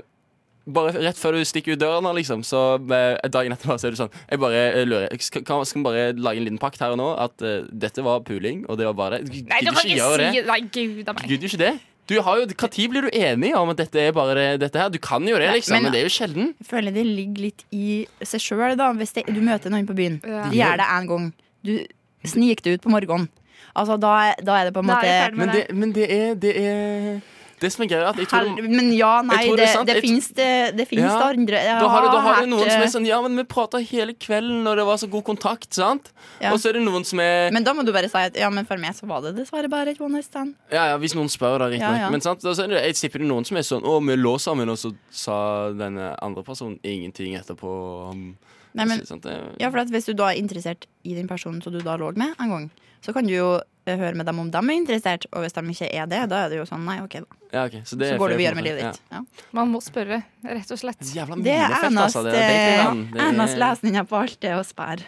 B: Bare rett før du stikker ut døren, her, liksom, så eh, dagen etterpå så er du sånn Jeg bare eh, lurer. Skal, kan, skal vi bare lage en liten pakt her og nå? At eh, dette var puling, og det var bare det? Du
C: Nei, du
B: Gidder
C: kan
B: ikke gjøre
C: ikke
B: det.
C: si Nei, gud a
B: Du
C: meg.
B: Gidder ikke det. Du har jo, hva tid blir du enig om at dette er bare det, dette her? Du kan jo det, liksom,
D: men-
B: men, det er jo sjelden.
D: Jeg føler det ligger litt i seg sjøl, da. Hvis det, du møter noen på byen.
C: Ja.
D: Du gjør det én gang. Du sniker det ut på morgenen. Altså, da, er- da er det på en
C: Da er
D: måte
C: jeg ferdig
B: Men
C: med
B: det,
C: det.
B: men det er Det er det som er greia, er at jeg tror
D: Hel- Men ja, nei,
B: Jeg tror det
D: det,
B: er sant.
D: det
B: Jeg tr-
D: finnes det, det finnes
B: Ja.
D: det andre Jeg
B: Da har, du, da har
D: hørt,
B: du noen som
D: eh,
B: er sånn Ja, men vi prata hele kvelden, og det var så god kontakt, sant?
D: Ja.
B: Og så er det noen som er
D: Men da må du bare si at ja, men for meg så var det dessverre bare et one night stand.
B: Ja, ja, hvis noen spør, da, riktignok.
D: Ja, ja.
B: Men sant, da så er det, jeg tipper det er noen som er sånn Å, vi lå sammen, og så sa den andre personen ingenting etterpå. og han-
D: Nei, men,
B: sant, det-
D: ja, for at Hvis du da er interessert i den personen som du da lå med en gang, så kan du jo eh, høre med dem om de er interessert, og hvis de ikke er det, da er det jo sånn nei, ok, da.
B: ja, ok, så, det
D: Så
B: er
D: går du
B: flere
D: videre med
B: måter,
D: livet ditt. Ja.
C: Man må spørre, rett og slett.
B: Ja. Jævla
D: Det er eh,
B: minefelt,
D: eneste
B: altså. Det, det er datingverden. det
D: eneste
B: er
D: lesninga på alt det å sperre.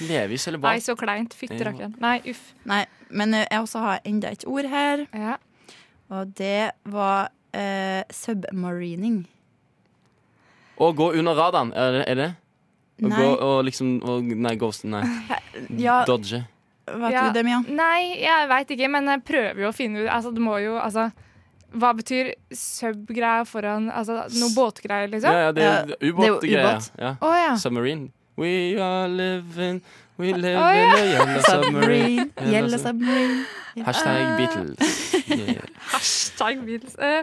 B: Leve i sølibat.
C: Nei, så kleint. Fytti rakkeren. Nei, uff.
D: Nei, men eh, jeg også har enda et ord her,
C: Ja.
D: og det var eh, submarining.
B: Å gå under radaren, er det? Er det? Å
D: Nei, Ah.
B: Gå, og liksom å, Nei, ghost, nei.
D: ja,
B: Dodge.
D: vet
C: Ja.
D: du det, Mia?
C: Nei, jeg veit ikke, men jeg prøver jo å finne ut Altså, det må jo Altså, hva betyr sub-greia foran Altså noe båtgreier,
B: Ja,
C: liksom?
B: ja, det er
D: Ja, det er jo
B: ubåtgreier.
D: ubåt.
B: Ja.
C: Å ja.
B: Submarine. We are living We live
C: Å, ja.
B: in a yellow submarine.
D: Submarine, yellow submarine.
B: Hashtag Beatles. Yeah.
C: Hashtag Beatles. Eh,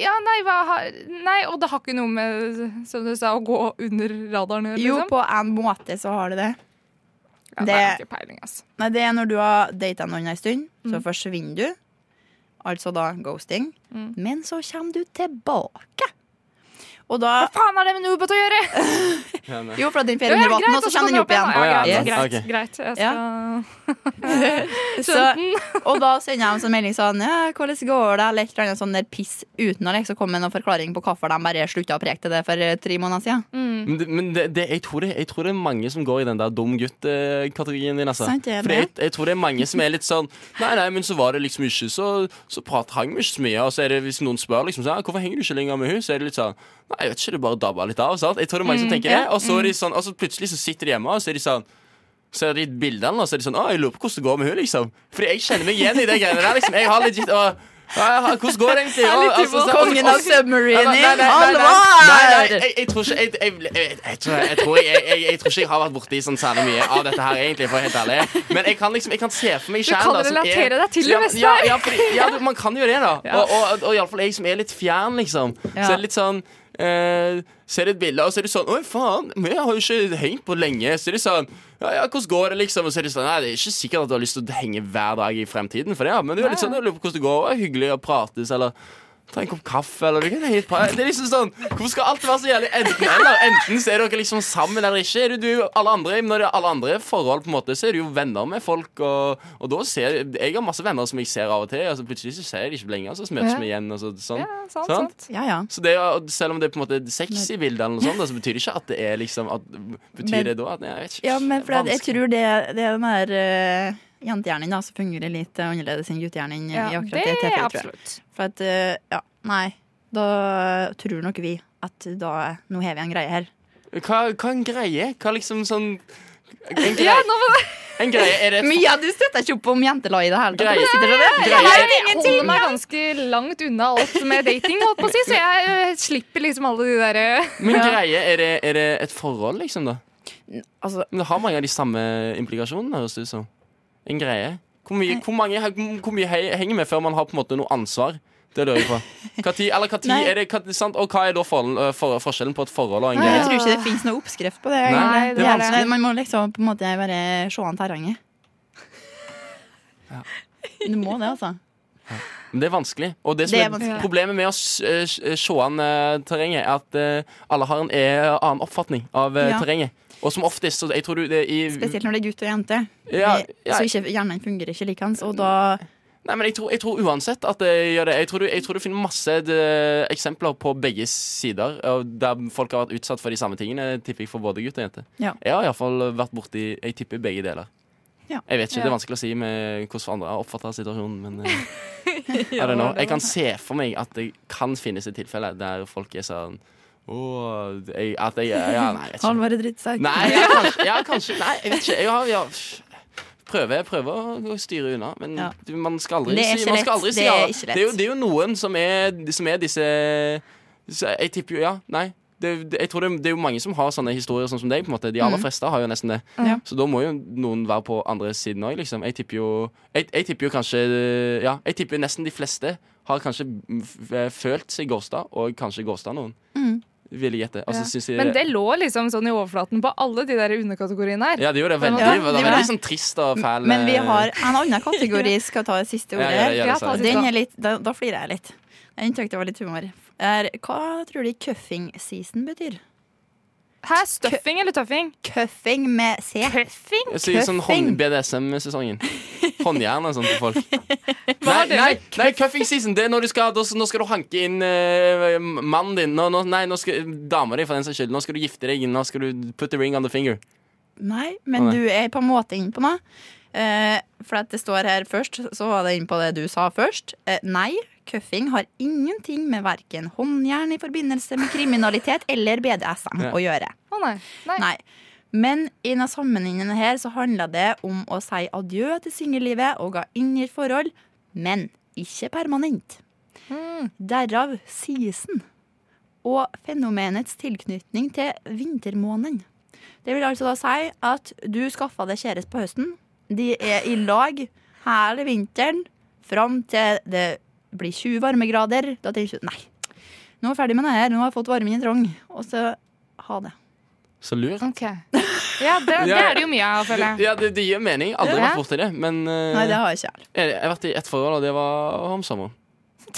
C: ja, nei, hva har Nei, og det har ikke noe med, som du sa, å gå under radaren å gjøre,
D: Jo,
C: liksom?
D: på en måte så har det det.
C: Ja, det er
D: det-
C: ikke peiling, altså.
D: Nei, det er når du har data noen en stund, så forsvinner du. Altså da ghosting. Men så kommer du tilbake. Og da
C: Hva faen har det med Nobot å gjøre?!
B: Ja, nei.
D: Jo, fra den
C: Ja, ja,
D: feriedebatten, og så kommer den opp igjen.
B: igjen.
C: Ja,
B: Å, ja,
C: greit, greit,
B: ok.
C: greit. Jeg
D: Ja.
C: skal
D: Så, og da sender jeg en sånn melding sånn ja, 'Hvordan går det?' eller et eller annet sånn der piss uten å liksom komme med noen forklaring på hvorfor de bare slutta å preke til det for eh, tre måneder siden.
B: Men, det, men det, det, jeg, tror det, jeg tror det er mange som går i den der dum gutt-kategorien din. Altså.
D: Sant, det er
B: For
D: det.
B: jeg, jeg tror det er mange som er litt sånn Nei, nei, men så var det liksom ikke Så, så prat hang vi ikke så mye. Og så er det hvis noen spør liksom sånn, «Ja, hvorfor henger du ikke lenger med hun, så er det litt sånn Nei, jeg vet ikke, det bare dabba litt av. Sant? Jeg tror det er mange
D: Mm,
B: som tenker det. Og så, er de sånn, og så plutselig så sitter de hjemme, og så er de sånn Ser de bildene, og så er de sånn Å, jeg lurer på hvordan det går med hun, liksom. Fordi jeg kjenner meg igjen i de greiene der, liksom. Jeg har legit og, ja, jeg har- Hvordan går det egentlig? Og, altså, så-
D: Kongen
B: og-
D: av submarining!
B: Nei, nei, nei, nei, nei. Nei, nei,
D: Alvor!
B: jeg- Jeg tror ikke jeg- jeg- jeg- jeg- jeg tror- jeg tror jeg- jeg- jeg tror ikke jeg har vært borti sånn særlig mye av dette her, egentlig, for å være helt ærlig. Men jeg kan liksom, jeg kan se for meg
C: Du
B: sjæl
C: kan relatere deg til det meste
B: ja,
C: her.
B: ja, fordi, ja, du- man kan jo det, da. Og, og, og iallfall jeg som er litt fjern, liksom. Så
D: Ja.
B: er det litt sånn eh, ser et bilde, og så er det sånn Oi, faen, vi har jo ikke hengt på lenge. Så er det sånn Ja, ja, hvordan går det, liksom? Og så er det sånn Nei, det er ikke sikkert at du har lyst til å henge hver dag i fremtiden for det, ja. men du er litt sånn Jeg lurer på hvordan det går, og det er hyggelig å prates, eller Ta en kopp kaffe, eller du kan henge et par Det er liksom sånn Hvorfor skal alt være så jævlig enten-eller? Enten så er dere liksom sammen eller ikke. Er det du og alle andre Når det er alle andre forhold, på en måte, så er du jo venner med folk, og, og da ser Jeg har masse venner som jeg ser av og til, og så plutselig så ser jeg dem ikke lenger, så møtes
C: Ja.
B: vi igjen, og så, sånn.
C: Ja, sant,
B: Sant?
C: sant.
D: Ja, ja.
B: Så det, å- selv om det er på en måte sex i bildet, eller noe sånt, da, så betyr det ikke at det er liksom at, Betyr
D: Men-
B: det da at Jeg vet ikke.
D: Ja, men for at jeg
B: Vanskelig.
D: tror det, det er den der eh, jentehjernen da, som fungerer litt eh, annerledes enn guttehjernen.
C: Ja,
D: i akkurat
C: det
D: det, tilfellet,
C: er
D: tror jeg.
C: absolutt.
D: For at, eh, ja, nei, da tror nok vi at da, nå har vi en greie her.
B: Hva, hva er en greie? Hva liksom sånn En greie,
C: Ja, nå må du
B: en greie er det
D: Mia, du støtter ikke opp om jentelaget i det hele
B: Greie.
D: tatt. Altså, Du sitter og det.
B: Greie er-
C: Jeg holder meg ganske langt unna alt med dating, holdt på å si, så jeg eh, slipper liksom alle de derre
B: Men greie, er det, er det et forhold, liksom, da?
D: Altså,
B: Men det har mange av de samme implikasjonene, høres det ut som. En greie. Hvor mye, hvor mange, hvor mye he- henger med før man har på en måte noe ansvar? Det lurer jeg på. Hva tid, eller hva tid
D: Nei.
B: er det, hva, sant? Og hva er da forhold, for, forskjellen på et forhold og en
D: jeg
B: greie?
D: tror ikke det finnes noen oppskrift på
B: Nei,
D: det. egentlig.
B: det er vanskelig.
D: Nei, Man må liksom på en måte bare se an terrenget. Du må det, altså.
B: Men det er vanskelig. Og det som
D: Det
B: er
D: er vanskelig.
B: problemet med å s- eh, s- eh, se an eh, terrenget, er at eh, alle har en eh, annen oppfatning av eh,
D: Ja.
B: terrenget. Og som oftest så jeg tror du, det, i,
D: Spesielt når det er gutt og jente.
B: Ja,
D: Vi-
B: ja.
D: Så ikke, hjernen fungerer ikke likens. Og da
B: Nei, men jeg tror, jeg tror uansett at det gjør det. Jeg tror, du, jeg tror du finner masse de, eksempler på begge sider og der folk har vært utsatt for de samme tingene. Tipper jeg for både gutt og jente.
D: Ja.
B: Jeg har iallfall vært borti Jeg tipper begge deler.
D: Ja.
B: Jeg vet ikke, Det
C: Ja.
B: er vanskelig å si med hvordan andre har oppfatta situasjonen, men eh, I don't know. Jeg kan se for meg at det kan finnes et tilfelle der folk er sånn Å, jeg, at jeg Ja, nei, jeg vet ikke.
D: Halvard er drittsekk.
B: Nei, ja, kanskje, ja, kanskje Nei, jeg vet ikke. Jeg har, ja, prøver, jeg prøver å styre unna, men
D: Ja.
B: du, man skal aldri
D: Det er
B: si
D: ikke
B: man skal
D: lett.
B: aldri
D: Det
B: si
D: er
B: ja.
D: ikke lett.
B: Det er, jo, det er jo noen som er, som er disse så Jeg tipper jo Ja, nei. Det, det, jeg tror det, det er jo mange som har sånne historier sånn som deg. på en måte De aller fleste har jo nesten det.
D: Mm. Ja.
B: Så da må jo noen være på andre siden òg, liksom. Jeg tipper jo jeg, jeg tipper jo kanskje Ja, jeg tipper nesten de fleste har kanskje f- følt seg ghosta, og kanskje ghosta noen.
D: Mm.
B: Vil jeg gjette. Altså,
C: Ja.
B: synes jeg,
C: Men det lå liksom sånn i overflaten på alle de der underkategoriene her.
B: ja, det gjorde det veldig.
D: Ja,
B: det var
D: det
B: veldig
D: gjorde
B: sånn trist og fæl.
D: Men vi
B: eh,
D: har en annen kategori. Skal jeg ta det siste
B: ja,
D: ordet?
B: ja, ja,
C: Ja,
B: det sa
C: ta
D: Og
B: jeg.
C: det.
D: den er litt, da, da flirer jeg litt. Jeg syntes det var litt humor. Er, hva tror du cuffing season betyr?
C: Her, Stuffing eller tøffing?
D: Cuffing med C.
C: Tøffing?
B: Jeg sier sånn
D: Cuffing.
B: hånd-BDSM-sesongen. Håndjern og sånn til folk. Nei,
C: Hva er det
B: nei,
C: med
B: nei, cuffing season. Det er når du skal, da, nå skal du hanke inn eh, mannen din. Nå, nå, nei, nå skal dama di, for den saks skyld. Nå skal du gifte deg. Nå skal du put the ring on the finger.
D: Nei,
B: Å,
D: men
B: nei.
D: du er på en måte inne på noe. Eh, for at det står her først, så var det inne på det du sa først. Eh, nei, cuffing har ingenting med verken håndjern i forbindelse med kriminalitet eller BDSM
B: Ja.
D: å gjøre.
C: Å nei. nei.
D: Nei. Men i denne sammenhengen her så handla det om å si adjø til singellivet og ga inn i et forhold, men ikke permanent. Derav season og fenomenets tilknytning til vintermåneden. Det vil altså da si at du skaffa deg kjæreste på høsten. De er i lag hele vinteren fram til det blir 20 varmegrader. Da tenker du nei, nå er jeg ferdig med det her, nå har jeg fått varmen i trong. Og så ha det.
B: Så lurt.
C: Ok. Ja, det, det er det jo mye av, føler jeg.
B: Ja, det, det gir mening. Aldri
C: Ja.
B: vært borti det. Men eh,
D: Nei, det har jeg ikke.
B: jeg jeg har vært i ett forhold, og det var om sommeren.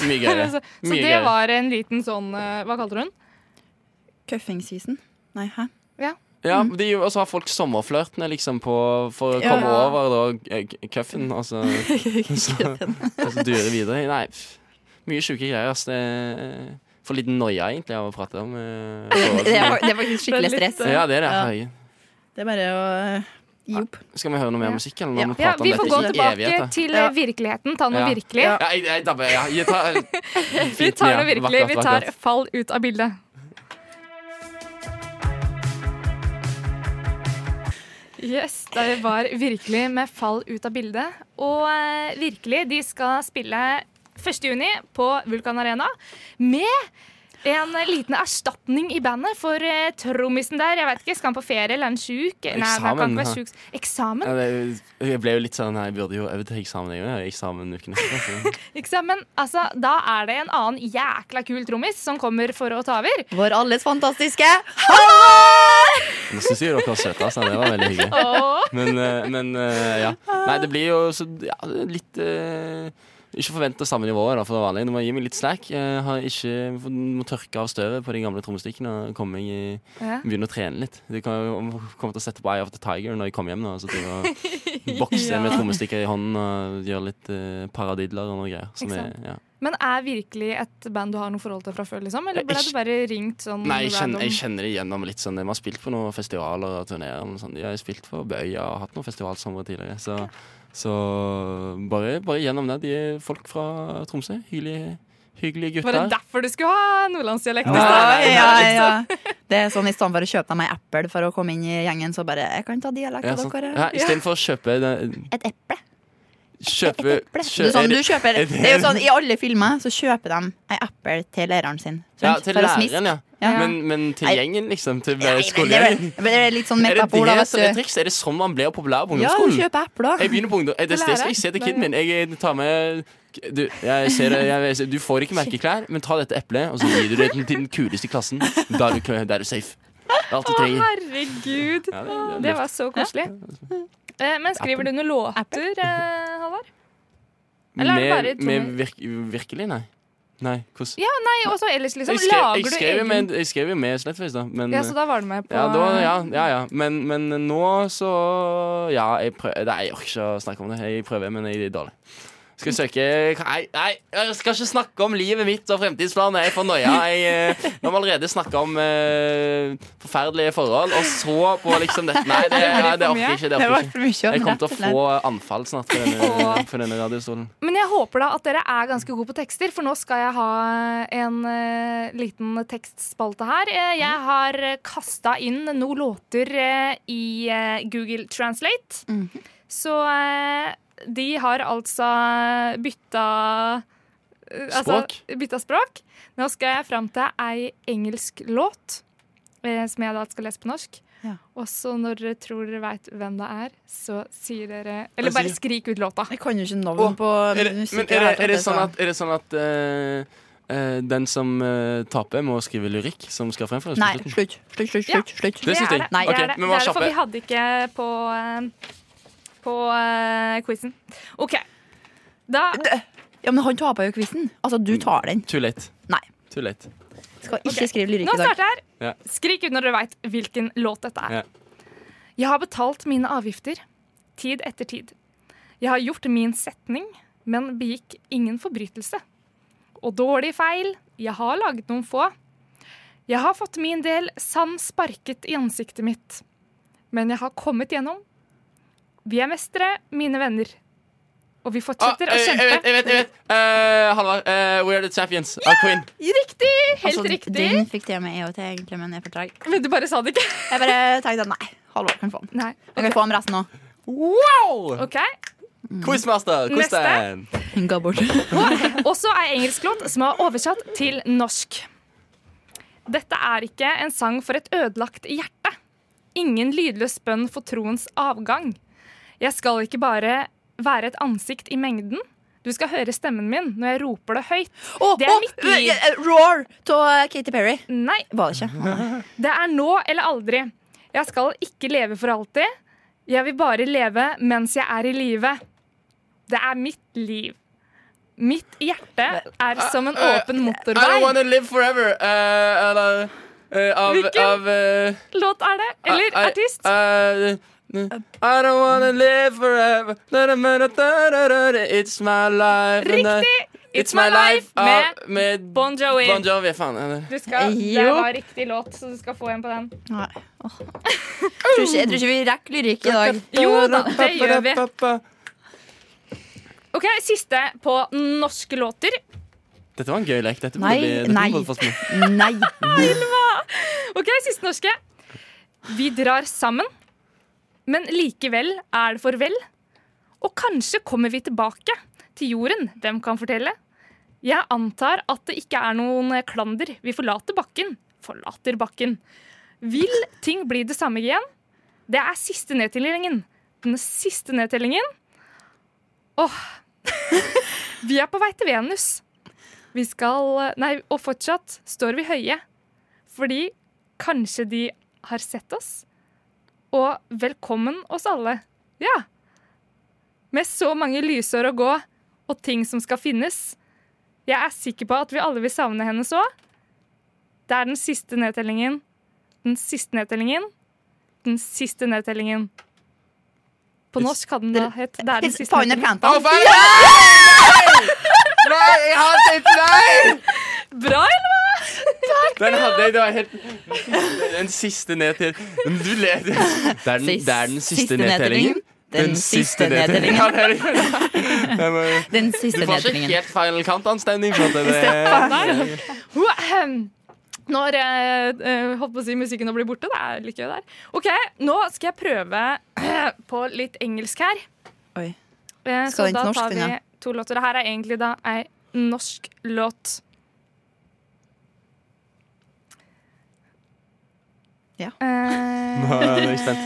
B: Mye gøyere.
C: Så, så
B: Mye
C: det
B: gøyere.
C: var en liten sånn eh, Hva kalte du den?
D: Cuffing season? Nei, hæ?
B: Ja,
C: Mm.
B: de, og så har folk sommerflørtene liksom på For å
D: Ja.
B: komme over da, eh, k- cuffen Og så, så, og så dure videre Nei, pff, mye syke greier ass. Det er for litt noia egentlig Av å prate om eh, forhold.
D: Det er, fak- det er faktisk skikkelig
C: Det er litt, eh,
D: stress.
B: Ja, det er det
D: Ja.
B: herregud.
D: Det er bare å eh, gi opp.
B: Skal vi høre noe mer
D: Ja.
B: musikk? Eller må
D: Ja.
B: vi
C: Ja,
B: prate om
C: vi får gå
B: dette i
C: tilbake
B: evigheter?
C: til eh,
D: Ja.
C: virkeligheten. Ta noe
B: Ja.
C: virkelig.
B: Ja, jeg, jeg dabber, ja Jeg tar- Fint,
C: Vi tar
B: ja.
C: noe virkelig.
B: Vakkert,
C: Vi tar
B: vakkert.
C: fall ut av bildet. Yes, det var virkelig med fall ut av bildet. Og eh, virkelig, de skal spille 1. juni på Vulkan Arena med en liten erstatning i bandet for eh, trommisen der. Jeg vet ikke, Skal han på ferie eller er han sjuk? Nei, han kan
B: Eksamen, ja.
C: ikke være sjuk. Eksamen?
B: ja, det, er jo- Jeg ble jo litt sånn, nei, jeg burde jo øve til eksamen Jeg har jo eksamen uken etter så.
C: Ikke sant? Men altså, da er det en annen jækla kul trommis som kommer for å ta over.
D: Vår alles fantastiske
B: Nå synes jeg dere var søte, altså Det var veldig hyggelig
C: Åh.
B: Men, eh, men eh, ja. Nei, det blir jo så, ja, litt eh, Ikke forvente samme nivået da, for det vanlige. Du må gi meg litt slack. Eh, har ikke, må tørke av støvet på de gamle trommestikkene og komme meg i,
C: Ja.
B: begynne å trene litt. Du kan jo komme til å sette på Eye of the Tiger når jeg kommer hjem. nå Så til å bokse med trommestikker i hånden og gjøre litt eh, paradidler og noe greier. Som
C: Ikke
B: er,
C: sant?
B: ja.
C: Men er virkelig et band du har noe forhold til fra før, liksom? Eller ble
B: Jeg-
C: du bare ringt
D: Mm,
C: sånn
B: Nei, jeg kjenner, jeg
C: random?
B: kjenner det igjennom litt sånn. Vi har spilt på noen festivaler og turnerer. og sånn. Jeg har spilt for Bøya og hatt noen festivalsomre tidligere. Så, så bare, bare gjennom det. De er folk fra Tromsø. Hyggelige, hyggelige
C: Var det
B: gutter.
C: derfor du skulle ha nordlandsdialekt? i
D: ja,
C: stedet?
D: ja, ja. Det er sånn i stedet for å kjøpe meg eple for å komme inn i gjengen, så bare Jeg kan ta dialekt
B: Ja,
D: av
B: sånn.
D: dere.
B: ja, Istedenfor å kjøpe den-
D: Et eple.
B: Kjøpe
D: Eple.
B: kjø-
D: Du, sånn, du kjøper,
B: er det-
D: det er jo sånn, I alle filmer så kjøper de ei eple til læreren sin.
B: Ja,
D: sant?
B: til
D: For å smiske.
B: læreren, ja.
D: Ja.
B: Men, men til
D: Nei.
B: gjengen, liksom. Til
D: Nei,
B: eh,
D: men det, er
B: skolegjengen.
D: vel- det er litt sånn
B: Er det
D: metafor, da,
B: det som er
D: vet du.
B: triks? Er det sånn man blir populær på
D: Ja, du
B: ungdomsskolen?
D: kjøper epler.
B: Jeg begynner på ungdom. Eh, Det er det
C: Lærer.
B: jeg sier til kiden min. Jeg tar med du, jeg ser, det, jeg, jeg- du får ikke merkeklær, men ta dette eplet, og så gir du det til den kuleste i klassen. Da er du, kø- da er du safe. Det er alt du
C: Å,
B: trenger.
C: herregud.
B: Ja, det- det
C: Det
B: er
C: var så koselig. Eh, Men skriver du noen låter, eh, Halvard? Eller er det bare
B: Med,
C: Tommy?
B: med virk, virkelig, nei. Nei, hvordan
C: Ja, nei, og så ellers, liksom.
B: jeg skrev, jeg,
C: lager du
B: skrev jo
C: egen
B: med, jeg skrev jo med Slettface, da. Men,
C: Ja, så da var du med på
B: Ja, det var, ja, ja, ja. Men, men nå så Ja, jeg prøver Nei, jeg orker ikke å snakke om det. Jeg prøver, men jeg er dårlig. Skal jeg søke Nei, nei, jeg skal ikke snakke om livet mitt og fremtidsplaner. Jeg er for noia. Jeg, eh, Nå har vi allerede snakka om eh, forferdelige forhold, og så på liksom dette. Nei, det, nei, det orker jeg ikke. Det
D: Det
B: orker
D: var
B: jeg ikke.
D: for mye.
B: Jeg kommer til å få anfall snart for denne, for denne radiostolen.
C: Men jeg håper da at dere er ganske gode på tekster, for nå skal jeg ha en eh, liten tekstspalte her. Eh, jeg har kasta inn noen låter eh, i eh, Google Translate. Så eh, de har altså bytta eh,
B: Språk?
C: Altså, bytta språk. Nå skal jeg fram til ei engelsk låt, eh, som jeg da skal lese på norsk.
D: Ja.
C: Og så når dere tror dere veit hvem det er, så sier dere Eller bare skrik ut låta.
D: Jeg kan jo ikke navn
B: Åh,
D: på
B: Er det, men
D: musikk.
B: er det, er det sånn at, er det sånn at eh, eh, den som eh, taper, må skrive lyrikk som skal fremføres? på
D: Nei,
B: slutten?
D: slutt. Slutt, slutt,
C: Ja.
D: slutt. slutt.
B: Det synes
C: er
B: jeg.
C: det.
D: Nei.
C: Det
B: Ok,
C: er det.
B: men vær
C: Det er det, for
B: kjappe.
C: vi hadde ikke på, eh, på eh, quizen. OK. Da
D: Ja, men han taper jo quizen. Altså,
B: Mm.
D: du tar den.
B: Too late.
D: Nei.
B: Too late.
D: Skal ikke skrive lyrikk
C: Nå
D: i dag.
C: starter jeg.
B: Ja.
C: her. Skrik ut når dere veit hvilken låt dette er.
B: Ja.
C: Jeg har betalt mine avgifter, tid etter tid. Jeg har gjort min setning, men begikk ingen forbrytelse. Og dårlige feil, jeg har laget noen få. Jeg har fått min del sand sparket i ansiktet mitt. Men jeg har kommet gjennom. Vi er mestere, mine venner. Og vi fortsetter
B: Ah,
C: å
B: eh, jeg vet,
C: kjempe.
B: jeg vet! jeg vet Eh, Halvard, eh, We Are The Champions av Queen.
C: Riktig! Helt
D: Altså,
C: riktig.
D: Den fikk til meg jeg og til, egentlig, men jeg får treig.
C: Men du bare sa det ikke.
D: Jeg bare tenkte nei. Halvor kan få den.
C: Nei.
D: Jeg kan få ham resten òg.
B: Wow!
C: OK.
B: Quizmaster,
C: Neste.
B: Kostein.
D: Ga bort.
C: Og så er engelsk låt som er oversatt til norsk. Dette er ikke en sang for et ødelagt hjerte. Ingen lydløs bønn for troens avgang. Jeg skal ikke bare være et ansikt i mengden. Du skal høre stemmen min når jeg roper det høyt. Det er mitt liv.
D: eh, Roar av Katy Perry.
C: Nei,
D: Var det ikke? Å, nei.
C: det er nå eller aldri. Jeg skal ikke leve for alltid. Jeg vil bare leve mens jeg er i live. Det er mitt liv. Mitt hjerte er som en åpen
B: ah, eh, I don't
C: motorvei.
B: wanna live forever. Eh, eller eh, Av,
C: Hvilken?
B: av eh,
C: Låt er det? Eller
B: I- I-
C: artist?
B: eh, I don't wanna live forever. Da-da-da-da-da-da-da. It's my life. and I-
C: Riktig! It's My Life
B: av-
C: med
B: Ah, med
C: Bon Jovi.
B: Bon Jovi. Faen. eller?
C: Du skal, det
D: Jo.
C: var riktig låt, så du skal få en på den.
D: Åh. Jeg tror ikke, jeg tror ikke vi rekker lyrikk i dag.
C: Jo da, det gjør vi. Ok, Siste på norske låter.
B: Dette var en gøy lek. Dette
D: Nei,
B: burde bli- dette
D: nei.
B: burde fått med.
D: Nei.
C: Ok, Siste norske. Vi drar sammen, men likevel er det farvel. Og kanskje kommer vi tilbake til jorden, hvem kan fortelle? Jeg antar at det ikke er noen klander. Vi forlater bakken. Forlater bakken. Vil ting bli det samme igjen? Det er siste nedtellingen. Den siste nedtellingen. Åh. Vi er på vei til Venus. Vi skal Nei, og fortsatt står vi høye. Fordi kanskje de har sett oss. Og velkommen oss alle. Ja. Med så mange lysår å gå, og ting som skal finnes. Jeg er sikker på at vi alle vil savne henne så. Det er den siste nedtellingen. Den siste nedtellingen. Den siste nedtellingen. På norsk hadde den da hett Det er den siste
D: Fauner
C: nedtellingen.
D: Phantom.
B: faen! Nei! Nei, jeg har tenkt nei!
C: Bra, eller hva?
B: Den hadde jeg. Det var helt Den siste ned til Men Du ler. Det er den, det er den siste nedtellingen.
D: Den siste nedtellingen.
B: Ja, det er det. Jeg må-
D: Den
B: Du
D: siste
B: får ikke
D: nedtellingen.
B: helt feil kantanstemning. for at det-
C: Der. Ho, ahem. Når eh, eh, holdt på å si musikken nå blir borte, det er litt gøy der. Ok, Nå skal jeg prøve på litt engelsk her.
D: Oi.
C: Eh,
D: Skal den
C: så
D: til
C: da
D: norsk,
C: tar vi
D: den, ja?
C: to låter. Det her er egentlig da ei norsk låt.
D: Ja.
C: Eh,
B: Nå er jeg spent.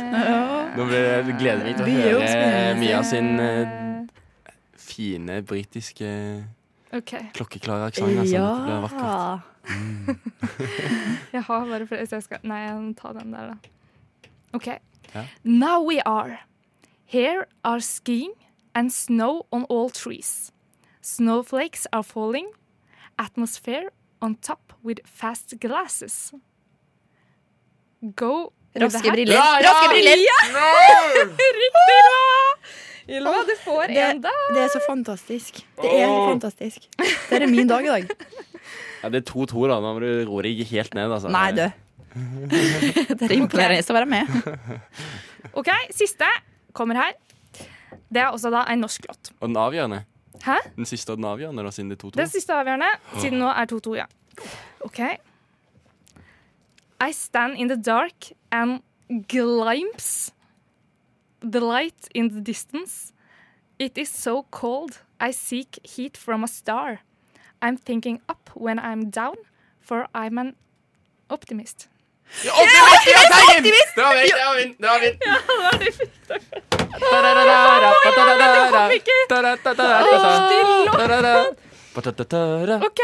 B: Nå blir jeg- gleder jeg meg til å
D: Blir jo
B: høre
D: spennende.
B: Mia sin eh, fine britiske
C: eh, OK.
B: klokkeklare aksent. Altså. Dette blir vakkert.
C: Jeg har bare flere, så jeg skal Nei, jeg må ta den der, da. OK.
B: Ja.
C: Now we are. Here are skiing and snow on all trees. Snowflakes are falling Atmosphere on top with fast glasses. Go with the
D: Raske
C: hat.
D: briller.
B: Ja, ja!
D: Raske briller.
C: Riktig bra! Ylva, du får
D: Det,
C: en der.
D: det er så fantastisk. Det er helt
B: Åh.
D: fantastisk. Det er min dag i dag.
B: Ja, det er 2-2, da. Nå må du roe deg helt ned. Altså.
D: Nei, du. Det er imponerende å være med.
C: Ok, Siste kommer her. Det er også da en norsk låt.
B: Og den avgjørende.
C: Hæ?
B: Den siste og den avgjørende, da, siden det er 2-2.
C: Den siste avgjørende, siden nå er 2-2, ja. OK. I stand in the dark and glimps the light in the distance. It is so cold, I seek heat from a star. I'm thinking up when I'm down, for I'm an optimist.
B: Optimist! Ja, Teigen! Det var min! Det var min! Det var min.
C: OK,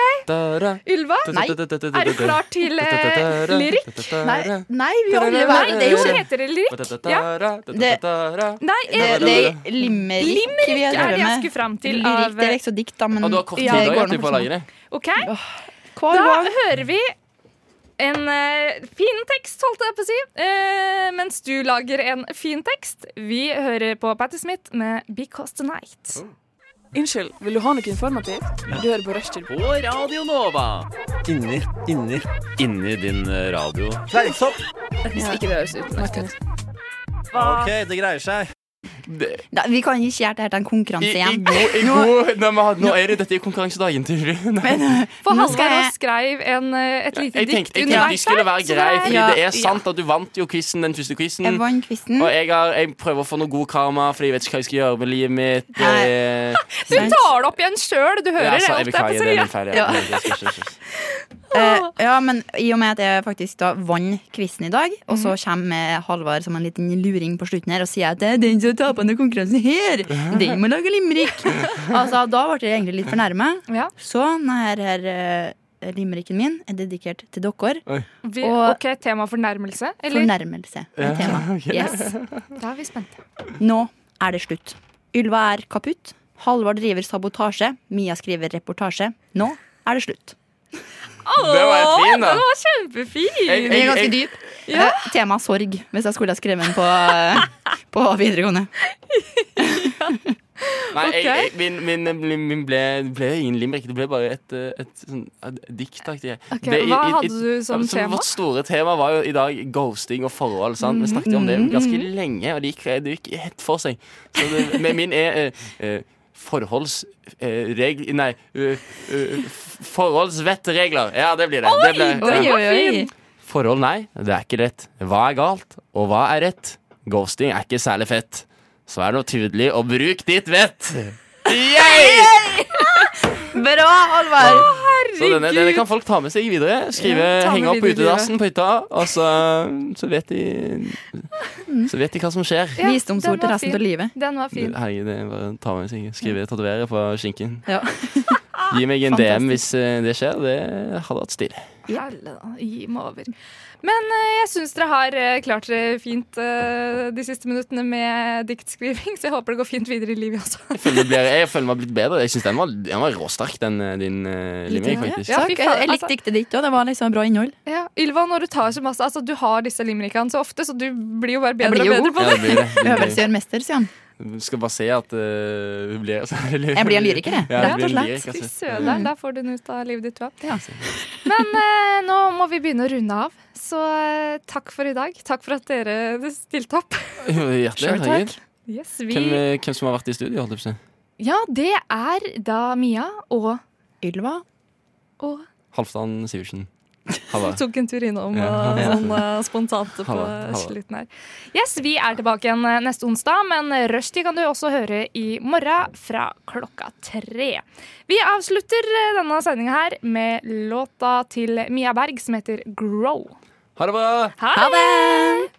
C: Ylva. Er du klar til eh, lyrikk?
D: Nei, nei vi har alle
C: Nei,
D: vært
C: det
D: det. er jo ikke-
C: heter det lyrikk. Nei, eh,
D: Det det er limerick, vi
C: Limerick
D: har
C: er det jeg
D: med.
C: skulle fram til.
D: Lyrikk,
C: av-
D: det er liksom dikt, da, men
B: Og du har kort tid
D: Ja, det
B: da,
D: går
B: vet du, på
D: nok
B: å
D: sånn.
B: lage det.
C: Ok,
D: Hver
C: Da
D: gang.
C: hører vi en eh, fin tekst, holdt jeg på å si, eh, mens du lager en fin tekst. Vi hører på Patti Smith med 'Because Tonight'.
B: Oh.
H: Unnskyld, vil du ha noe informativt? Du hører på Rushtid.
I: Inni, inni, inni din eh, radio.
A: Fleinsopp.
H: Ikke det høres utmerket ut.
I: OK, det greier seg.
D: Da, vi kan ikke gjøre det her til
B: I,
D: en konkurranse
B: i,
D: igjen.
B: god, i god, nei, men, nå er det dette i konkurransedagen til Nei.
C: For
D: Nå skal
C: Halvard
D: jeg-
C: også skrev en, eh, et lite
B: Jeg
C: dikt
B: tenkte, jeg tenkte de
C: underveis. altså,
B: skulle være greie, Fordi
D: Ja,
B: det er
D: ja.
B: sant at du vant jo quizen, den første quizen.
D: Jeg vant quizen.
B: Og jeg, har, jeg prøver å få noe god karma, Fordi jeg vet ikke hva jeg skal gjøre med livet mitt.
D: Nei.
B: Eh,
C: Du tar det opp igjen sjøl, du hører
B: ja,
C: det.
B: altså, jeg
C: holdt jeg på å
B: beklager,
C: si,
B: det er
C: ja.
B: min feil.
D: Ja.
B: Ja. Nei, det skal ikke-
D: Eh, ja, men i og med at jeg faktisk da vant quizen i dag, og så kommer Halvard som en liten luring på slutten her og sier at det er den som taper denne konkurransen her, den må lage limerick. altså, da ble jeg egentlig litt fornærma.
C: Ja,
D: Så denne her, eh, limericken min er dedikert til dere.
C: vi,
D: Og-
C: OK, tema fornærmelse? Eller?
D: Fornærmelse er tema. Yes.
C: Da er vi spente.
D: Nå er det slutt. Ylva er kaputt. Halvard driver sabotasje. Mia skriver reportasje. Nå er det slutt.
B: Det var en fin, da.
C: Den var kjempefin!
B: Jeg-
D: Den er ganske dyp.
C: Ja.
D: Eh, Tema sorg, hvis jeg skulle ha skrevet den på, eh, på videregående.
B: Nei, jeg,
C: Ok.
B: jeg, min, min, min- min ble, ble ingen limerick. Det ble bare et, eh, et, sånn, et diktaktig
C: Ok,
B: Det- i-
C: hva
B: i-
C: hadde
B: i-
C: du som
B: altså,
C: tema? Mm,
B: Vårt store tema var jo i dag ghosting og forhold. Sant? Vi snakket jo om det ganske lenge, og det gikk, det gikk helt for seg. Så det, men min er eh, eh, Forholds... Eh, reg, nei eh, eh, f- Forholdsvettregler. Ja, det blir det. det blir,
D: Oi,
B: ja.
D: oi, oi.
B: Forhold, nei. Det er ikke lett. Hva er galt, og hva er rett? Ghosting er ikke særlig fett. Så er det noe tydelig, og bruk ditt vett! Yay!
D: Bra, Halvard!
B: Så denne, denne kan folk ta med seg videre. Skrive,
C: Ja, ta med
B: Henge opp på
C: videre.
B: utedassen på hytta, og så, så vet de Så vet de hva som skjer.
C: Ja,
D: Visdomsord
C: den
D: til
C: var
D: resten
C: fin.
D: av livet.
C: Den var fin.
B: Herregud, det er bare å ta med seg. Skrive, tatovere på skinken.
D: Ja.
B: Gi meg en
D: Fantastisk.
B: DM hvis eh, det skjer. Det hadde vært stilig.
C: Helle, da. Gi meg over. Men eh, jeg syns dere har eh, klart dere fint eh, de siste minuttene med diktskriving, så jeg håper det går fint videre i livet også.
B: Jeg føler det blir- jeg føler meg blitt bedre. Jeg syns den var, den var råsterk, den eh, din uh, limerick, faktisk.
C: Ja,
D: Takk,
C: fy
D: jeg,
C: faen,
D: jeg likte
C: altså.
D: diktet ditt òg. Det var liksom bra innhold.
C: Ja. Ylva, når du tar så masse Altså, du har disse limerickene så ofte, så du blir jo bare bedre
D: blir jo
C: og bedre
D: god.
C: på
B: Ja,
C: det.
B: det blir det. det. blir
D: Øvelse
B: det.
D: gjør mester, sier han.
B: Du skal bare se at eh, hun blir altså, eller-
D: Jeg blir en lyriker, jeg.
B: Ja,
D: Rett
B: du blir en
D: og slett.
B: lyriker,
C: Fy
B: altså.
C: søder, der får du den ut av livet ditt, tror jeg.
D: Ja.
C: Men eh, nå må vi begynne å runde av, så eh, takk for i dag. Takk for at dere stilte opp.
B: Jo, Hjertelig.
D: Sure,
B: herregud.
D: takk.
C: Yes,
B: Hvem,
C: vi
B: eh, hvem som har vært i studio? Holdt jeg på å si.
C: Ja, det er da Mia og
D: Ylva.
C: og
B: Halvdan Sivertsen. Halla.
C: tok en tur innom
B: Ja.
C: og sånn eh, spontant på
B: Halla, halla.
C: slutten her. Yes, vi er tilbake igjen eh, neste onsdag, men rushtid kan du også høre i morgen fra klokka tre. Vi avslutter eh, denne sendinga her med låta til Mia Berg som heter Grow.
B: Ha det bra!
D: Eh.
C: Ha det!